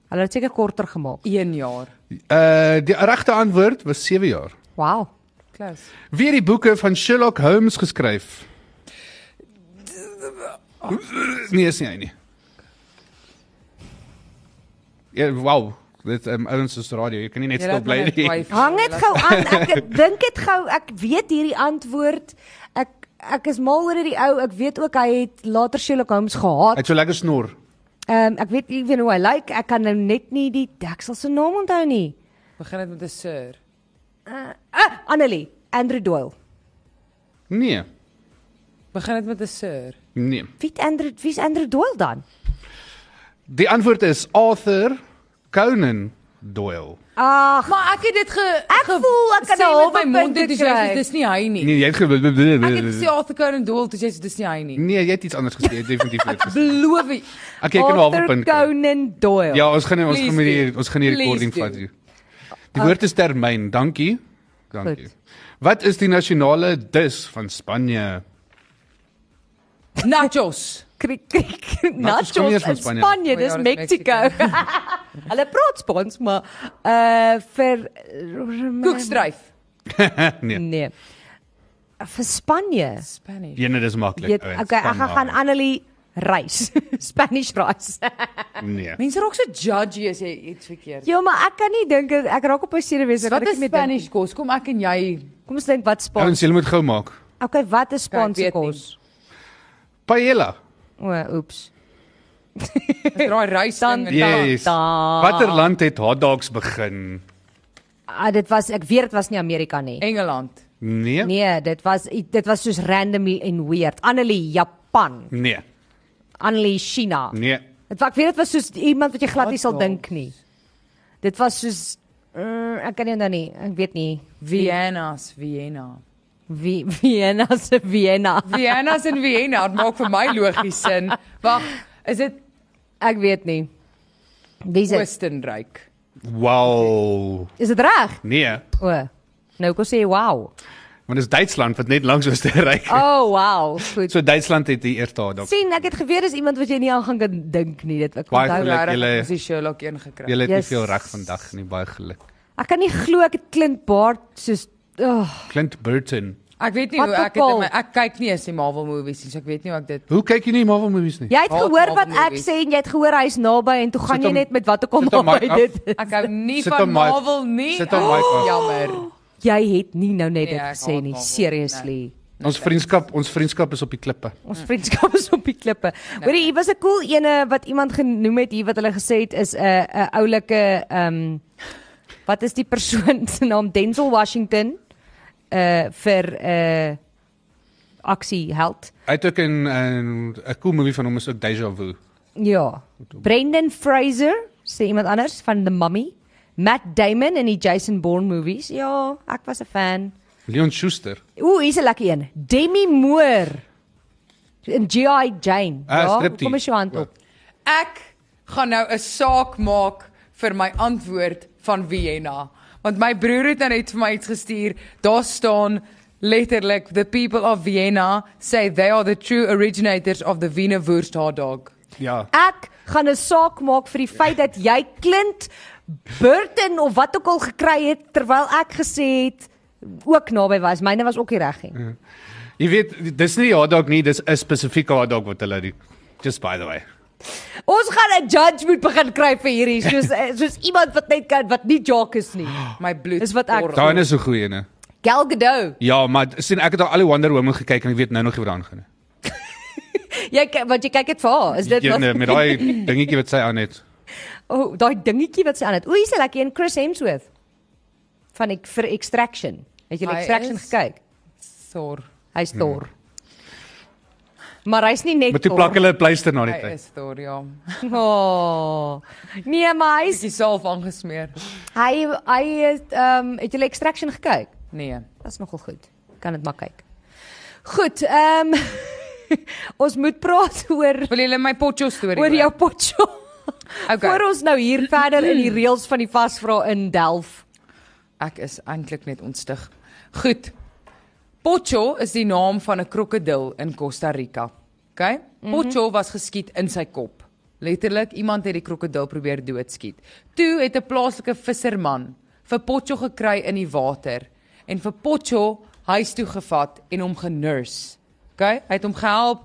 Speaker 1: Hulle het seker korter gemaak.
Speaker 2: 1 jaar.
Speaker 3: Uh die regte antwoord was 7 jaar.
Speaker 1: Wow.
Speaker 2: Close.
Speaker 3: Wie het die boeke van Sherlock Holmes geskryf? Nee, is nie hy nie. Ja, wow. Dit um, ouens is radio. Jy kan nie net
Speaker 2: Jy
Speaker 3: stil
Speaker 2: laat my
Speaker 3: bly
Speaker 2: net
Speaker 3: nie.
Speaker 2: twyfel.
Speaker 1: Hang dit gou aan. Ek dink dit gou ek weet hierdie antwoord. Ek ek is mal oor hierdie ou. Ek weet ook hy het later Sherlock Holmes gehaat.
Speaker 3: Hy't so lekker snor.
Speaker 1: Ehm um, ek weet nie weet hoe hy lyk. Like. Ek kan nou net nie die deksel se naam onthou nie.
Speaker 2: Begin dit met 'n sir.
Speaker 1: Ah, Annelie, Andrew Doyle.
Speaker 3: Nee.
Speaker 2: Begin dit met 'n sir.
Speaker 3: Nee.
Speaker 1: Wie het Andrew wie's Andrew Doyle dan?
Speaker 3: Die antwoord is Arthur Conan Doyle.
Speaker 1: Ag,
Speaker 2: Maar ek het dit ge
Speaker 1: Ek
Speaker 2: ge-
Speaker 1: voel ek kan
Speaker 2: sê
Speaker 1: een halwe
Speaker 2: met my mond
Speaker 1: punt
Speaker 2: dit is jy
Speaker 1: kry.
Speaker 2: dis nie hy nie.
Speaker 3: Nee, jy het ge
Speaker 2: Ek het gesê Arthur Conan Doyle dis jy dis nie hy nie.
Speaker 3: Nee, jy het iets anders gesê, definitief. net gesê.
Speaker 2: Beloof jy.
Speaker 3: Okay, ek kan nou 'n halwe punt. kry.
Speaker 1: Conan Doyle.
Speaker 3: Ja, ons gaan nie- ons
Speaker 2: Please
Speaker 3: gaan met die
Speaker 2: do.
Speaker 3: ons gaan die recording
Speaker 2: Please
Speaker 3: vat
Speaker 2: do.
Speaker 3: hier. Die woord is termyn. Dankie. Dankie.
Speaker 1: Goed.
Speaker 3: Wat is die nasionale dis van Spanje?
Speaker 2: Nachos.
Speaker 1: Krik krik
Speaker 3: Nachos kom nie
Speaker 1: nachos
Speaker 3: eers van
Speaker 1: in
Speaker 3: Spanje.
Speaker 1: Spanje,
Speaker 2: O ja,
Speaker 1: dis
Speaker 2: dis
Speaker 1: Mexico. Hulle praat Spaans, maar uh vir eh,
Speaker 2: Koekstryf.
Speaker 3: Nee,
Speaker 1: Nee. Vir Spanje.
Speaker 2: Spanish.
Speaker 3: jene dis maklik.
Speaker 1: Weet,
Speaker 3: ouens.
Speaker 1: okay, ek
Speaker 3: Come
Speaker 1: gaan
Speaker 3: on.
Speaker 1: gaan Annelie reis. Spanish reis.
Speaker 3: Nee.
Speaker 2: Mense raak so judgy as jy iets verkeerd.
Speaker 1: ja, maar ek kan nie dink ek raak op 'n serie wees
Speaker 2: Wat
Speaker 1: ek
Speaker 2: is
Speaker 1: nie meer dink.
Speaker 2: Spanish kos? Kom ek en jy.
Speaker 1: Kom ons dink wat Spaans.
Speaker 3: Ouens, julle moet gou maak.
Speaker 1: Okay, wat is
Speaker 2: Kyk,
Speaker 1: Spaanse
Speaker 2: weet nie.
Speaker 1: kos?
Speaker 3: Paella.
Speaker 1: O, oeps.
Speaker 2: Dis Daai rys
Speaker 1: Dan-
Speaker 2: ding en dan.
Speaker 3: Yes.
Speaker 1: da.
Speaker 3: Watter land het hotdogs begin?
Speaker 1: Ah, dit was ek weet dit was nie Amerika nie.
Speaker 2: Engeland.
Speaker 3: Nee. Nee.
Speaker 1: Nee, dit was i- dit was soos randomly en weird. Annelie Japan,
Speaker 3: Nee.
Speaker 1: Annelie China.
Speaker 3: nee.
Speaker 1: Dit was ek weet dit was soos iemand wat jy glad nie sal
Speaker 2: Hotdogs.
Speaker 1: dink nie. Dit was soos uh, ek kan nie nou nie, ek weet nie
Speaker 2: Vienna's Vienna.
Speaker 1: wie Vienna se Vienna.
Speaker 2: Vienna's in Vienna dit maak vir my logies sin. Wag, is dit
Speaker 1: Ek weet nie. Wie sê?
Speaker 2: Oostenryk?
Speaker 3: Wow.
Speaker 1: Is dit reg?
Speaker 3: Nee.
Speaker 1: O. Nou kom sê wow.
Speaker 3: Want dis Duitsland wat net langs Oostenryk.
Speaker 1: O
Speaker 3: Oh.
Speaker 1: oh, wow. Goed.
Speaker 3: So Duitsland het die eerste hotdog.
Speaker 1: sien, ek het geweet dis iemand wat jy nie aan gaan kan dink nie. Dit ek
Speaker 3: Baie
Speaker 1: onthou. nou.
Speaker 3: geluk.
Speaker 2: Regtig,
Speaker 3: julle-
Speaker 2: Ons het Sherlock een gekry.
Speaker 3: Julle het yes.
Speaker 1: Yes.
Speaker 3: nie veel reg vandag nie, baie geluk.
Speaker 1: Ek kan nie glo ek het klink baard soos oh,
Speaker 3: Clint Burton.
Speaker 2: Ek weet nie
Speaker 1: Wat
Speaker 2: hoe ek het in my
Speaker 1: bepaal?
Speaker 2: ek kyk nie eens die Marvel movies nie, so ek weet nie hoe ek dit
Speaker 3: Hoe kyk jy nie Marvel movies nie?
Speaker 1: Jy het
Speaker 2: Haat
Speaker 1: gehoor wat
Speaker 2: Marvel
Speaker 1: ek
Speaker 2: movies.
Speaker 1: sê en jy het gehoor hy's naby en toe gaan
Speaker 3: Sit
Speaker 1: jy
Speaker 3: hom-
Speaker 1: net met wat ek kom
Speaker 3: sit hom
Speaker 1: naby
Speaker 3: mic
Speaker 1: dit.
Speaker 2: Ek hou nie
Speaker 3: Sit
Speaker 2: van
Speaker 3: hom, Mike.
Speaker 2: Marvel nie.
Speaker 3: Sit hom, Mike, af.
Speaker 2: jammer.
Speaker 1: Jy het nie nou net
Speaker 2: Nee,
Speaker 1: dit
Speaker 2: ek
Speaker 1: gesê
Speaker 2: haat
Speaker 1: nie,
Speaker 2: Marvel.
Speaker 1: seriously.
Speaker 3: Ons vriendskap, ons vriendskap is op die klippe.
Speaker 1: Ons vriendskap is op die klippe. Hoorie, hier was 'n cool ene wat iemand genoem het hier wat hulle gesê het is 'n 'n oulike ehm wat is die persoon se naam Denzel Washington uh vir uh aksie held.
Speaker 3: Hy het ook in 'n 'n cool movie van hom is ook Deja Vu.
Speaker 1: Ja. Brendan Fraser, sê iemand anders van The Mummy. Matt Damon in die Jason Bourne movies. Ja, ek was 'n fan.
Speaker 3: Leon Schuster.
Speaker 1: Ooh, hier's 'n lekker een. Demi Moore in GI Jane.
Speaker 3: Ah,
Speaker 1: ja,
Speaker 3: striptease.
Speaker 1: kom as jou hand op.
Speaker 2: Ek gaan nou 'n saak maak vir my antwoord van Vienna, want my broer het nou net vir my iets gestuur. Daar staan letterlik the people of Vienna say they are the true originators of the Wiener Wurst hot dog.
Speaker 3: Ja.
Speaker 1: Ek gaan 'n saak maak vir die feit dat jy Clint Burton of wat ook al gekry het terwyl ek gesê het ook naby was. Myne was ook nie reg
Speaker 3: Ja.
Speaker 1: nie.
Speaker 3: Jy weet, dis nie 'n hotdog nie, dis 'n spesifieke hotdog wat hulle die just by the way.
Speaker 1: Ons gaan 'n judge moet begin kry vir hierdie soos eh, soos iemand wat net kan wat nie jock is nie.
Speaker 2: My bloed.
Speaker 1: Dis wat ek-
Speaker 2: borrel.
Speaker 3: Daai is 'n goeie een.
Speaker 1: Gal Gadot.
Speaker 3: Ja, maar sien ek het al alle Wonder Woman gekyk en ek weet nou nog nie wat aangaan nie.
Speaker 1: Jy ky- want jy kyk dit vir haar. Is dit
Speaker 3: Die ene
Speaker 1: wat
Speaker 3: eh, nou, met daai dingetjie wat sy aan het.
Speaker 1: O, oh, daai dingetjie wat sy aan het. O, hier's 'n lekker een Chris Hemsworth van ek vir Extraction. Het jy
Speaker 2: Hy
Speaker 1: Extraction
Speaker 2: is-
Speaker 1: gekyk?
Speaker 2: Sor.
Speaker 1: Hy's dor. Maar hy's nie net
Speaker 3: Maar toe plak
Speaker 1: dor.
Speaker 3: hulle 'n pleister na die
Speaker 2: Hy
Speaker 3: tyd.
Speaker 2: is dor, ja.
Speaker 1: Oh. Nee, maar hy's
Speaker 2: Is die salf aangesmeer?
Speaker 1: hy hy is ehm um, het jy extraction gekyk?
Speaker 2: Nee.
Speaker 1: Dis nogal goed. Kan dit maar kyk. Goed, ehm ons moet praat oor
Speaker 2: Wil julle my potjie storie?
Speaker 1: oor jou potjie. Okay. Voor
Speaker 2: Okay.
Speaker 1: ons nou hier verder in die reëls van die vasvra in delf.
Speaker 2: Ek is eintlik net ontstig. Goed. Pocho is die naam van 'n krokodil in Costa Rica. OK? Pocho was geskiet in sy kop. Letterlik, iemand het die krokodil probeer doodskiet. Toe het 'n plaaslike visserman vir Pocho gekry in die water en vir Pocho huis toe gevat en hom genurse. OK? Hy het hom gehelp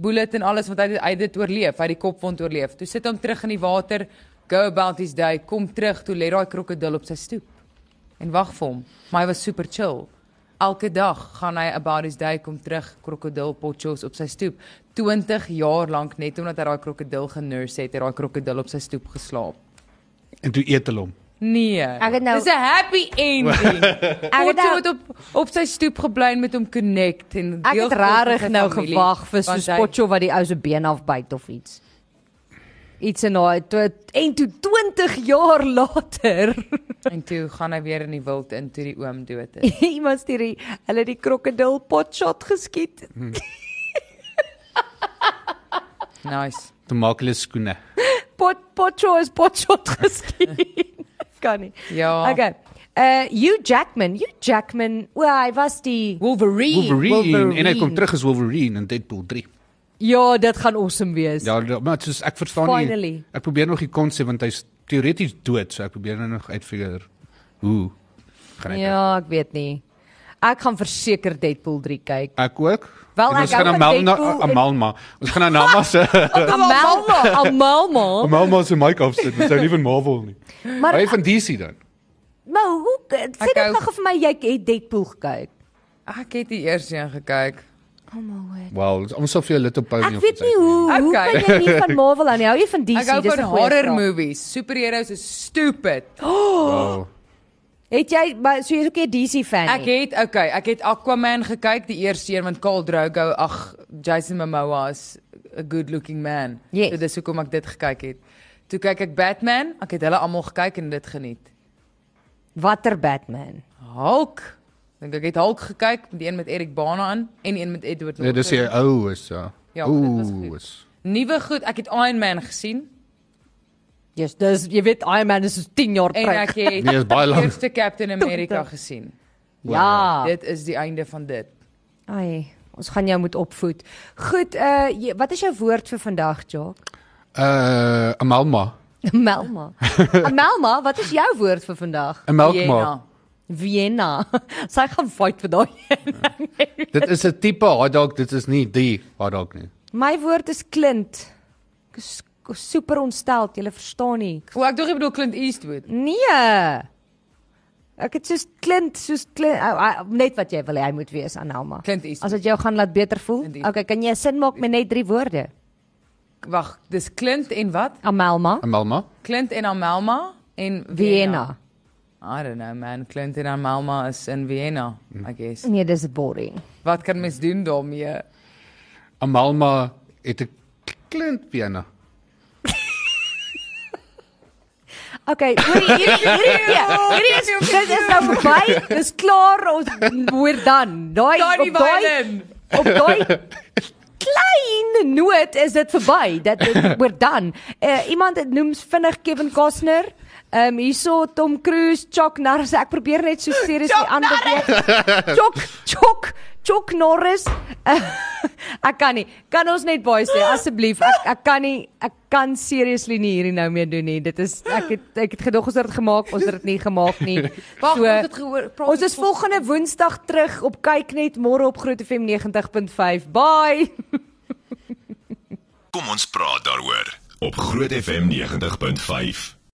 Speaker 2: bullet en alles want hy hy het dit oorleef, hy het die kopwond oorleef. Toe sit hom terug in die water, go about his day, kom terug, toe lê daai krokodil op sy stoep en wag vir hom. Maar hy was super chill. Elke dag gaan hy about his day kom terug krokodilpotjos op sy stoep. 20 jaar lank net omdat hy daai krokodil genurse het, het daai krokodil op sy stoep geslaap.
Speaker 3: En toe eet hulle hom.
Speaker 2: Nee.
Speaker 1: Ek het nou-
Speaker 2: Dis 'n happy ending.
Speaker 1: Ek
Speaker 2: Potjo
Speaker 1: het nou-
Speaker 2: het op op sy stoep gebly en met hom connect en
Speaker 1: ek
Speaker 2: deel
Speaker 1: het
Speaker 2: geword met
Speaker 1: regtig
Speaker 2: sy
Speaker 1: nou
Speaker 2: familie,
Speaker 1: gewag vir
Speaker 2: want
Speaker 1: so
Speaker 2: hy-
Speaker 1: potjie wat die ou se been afbyt of iets. Iets en daai toe- en toe 20 jaar later
Speaker 2: En toe gaan hy weer in die wild in toe die oom dood is.
Speaker 1: iemand stuur die hulle die krokodil potshot geskiet. Ja.
Speaker 2: Nice.
Speaker 3: Toe maak hulle skoene.
Speaker 1: Pot potjo is potshot geskiet. kan nie.
Speaker 2: Ja.
Speaker 1: Okay. Uh Hugh Jackman, Hugh Jackman, well, hy was die
Speaker 2: Wolverine.
Speaker 3: Wolverine, Wolverine en hy
Speaker 1: Wolverine.
Speaker 3: kom terug as Wolverine in Deadpool 3.
Speaker 1: Ja, dit gaan awesome wees.
Speaker 3: Ja, da- maar soos ek verstaan
Speaker 1: Finally.
Speaker 3: nie. Ek probeer nog die konsep want hy's teoreties dood, so ek probeer nou nog uitfigure hoe gaan dit.
Speaker 1: ja ek weet nie. Ek gaan verseker Deadpool 3 kyk.
Speaker 3: Ek ook.
Speaker 1: Wel,
Speaker 3: En
Speaker 1: ek
Speaker 3: ons gaan
Speaker 1: hou
Speaker 3: na
Speaker 1: van Deadpool en-
Speaker 3: Malma, na Malma. Ons gaan na Malma se
Speaker 1: Amalma, Amalma.
Speaker 3: Malma se mic-off sit. Dit sou nie van Marvel nie.
Speaker 1: Maar-
Speaker 3: hy van DC dan.
Speaker 1: Maar hoe sê
Speaker 2: Ek
Speaker 1: dit
Speaker 2: hou-
Speaker 1: nog vir my jy het Deadpool gekyk?
Speaker 2: Ek het die eers een gekyk.
Speaker 1: Oh my word.
Speaker 3: Wow, ons sal vir jou Little Pony
Speaker 1: Ek weet nie hoe hoe
Speaker 2: Okay.
Speaker 1: kan jy nie van Marvel aan nie? Hou jy van
Speaker 2: Ek
Speaker 1: DC?
Speaker 2: hou
Speaker 1: Dis 'n
Speaker 2: van
Speaker 1: goeie
Speaker 2: horror
Speaker 1: vraag.
Speaker 2: movies. Superheroes is stupid.
Speaker 3: Wow.
Speaker 1: Het jy maar so jy's ook 'n DC fan?
Speaker 2: Ek
Speaker 1: nie?
Speaker 2: het okay, ek het Aquaman gekyk die eerste een want Khal Drogo, ag Jason Momoa is 'n good looking man.
Speaker 1: Yes.
Speaker 2: So dis hoekom ek dit gekyk het. Toe kyk ek Batman, ek het hulle almal gekyk en dit geniet.
Speaker 1: Watter Batman?
Speaker 2: Hulk. Dink ek het Hulk gekyk, die een met Eric Bana aan en een met Edward
Speaker 3: Nee,
Speaker 2: Norton.
Speaker 3: dis hy ou is ja.
Speaker 2: Ja, maar dit was
Speaker 3: Ooh,
Speaker 2: goed.
Speaker 3: is.
Speaker 2: Nuwe goed, ek het Iron Man gesien
Speaker 1: Yes, dis jy weet Iron Man is so 10 jaar
Speaker 2: en
Speaker 1: terug.
Speaker 2: ek het
Speaker 3: Nee, is baie
Speaker 2: die
Speaker 3: lank.
Speaker 2: eerste Captain America gesien.
Speaker 1: ja.
Speaker 2: Dit is die einde van dit.
Speaker 1: Ai, ons gaan jou moet opvoed. Goed, uh jy, wat is jou woord vir vandag, Jock?
Speaker 3: Uh, 'n Malma,
Speaker 1: Melma. Ah, Melma, wat is jou woord vir vandag?
Speaker 3: 'n melkma.
Speaker 1: Vienna.
Speaker 2: Vienna.
Speaker 1: Sy gaan fight vir daai. ja.
Speaker 3: Dit is 'n tipe hotdog, dit is nie die hotdog nie.
Speaker 1: My woord is klint. Ek is k- super ontstel, jy verstaan nie.
Speaker 2: O, ek dink jy bedoel Clint Eastwood.
Speaker 1: Nee. Ek het soos klint, soos klint, ou, ou, net wat jy wil hê hy moet wees aan Melma.
Speaker 2: Clint Eastwood.
Speaker 1: As dit jou gaan laat beter voel.
Speaker 2: Indeed.
Speaker 1: Okay, kan jy 'n sin maak met net drie woorde?
Speaker 2: Wag, dis Clint en wat?
Speaker 1: Amelma,
Speaker 3: 'n Malma.
Speaker 2: Clint en Amelma en
Speaker 1: Vienna.
Speaker 2: I don't know man, Clint en Amelma is in Vienna, I guess.
Speaker 1: Nee, dis boring.
Speaker 2: Wat kan mens doen daarmee?
Speaker 3: 'n Malma het 'n klint piano.
Speaker 1: Okay, hoor jy, hierdie hierdie hierdie is Ja. dit is nou verby. Dis klaar, ons we're done. Daai
Speaker 2: Daar die
Speaker 1: op daai
Speaker 2: violin.
Speaker 1: op daai klein noot is dit verby. Dat we're done. Uh, iemand het noems vinnig Kevin Costner. Ehm um, hierso Tom Cruise, Chuck Norris. Ek probeer net so seriously
Speaker 2: Chuck
Speaker 1: aanbeweeg. Chuck, Chuck, Chuck Norris. Uh, ek kan nie. Kan ons net baie sê asseblief. Ek ek kan nie ek kan seriously nie hierdie nou meer doen nie. Dit is ek het ek het gedog ons het dit gemaak, ons het dit nie gemaak nie.
Speaker 2: Wag,
Speaker 1: So-
Speaker 2: ons het gehoor. praat
Speaker 1: Ons is
Speaker 2: vol-
Speaker 1: volgende Woensdag terug op kyk net môre op Groot FM 90.5. Bye.
Speaker 5: Kom ons praat daaroor op Groot FM 90.5.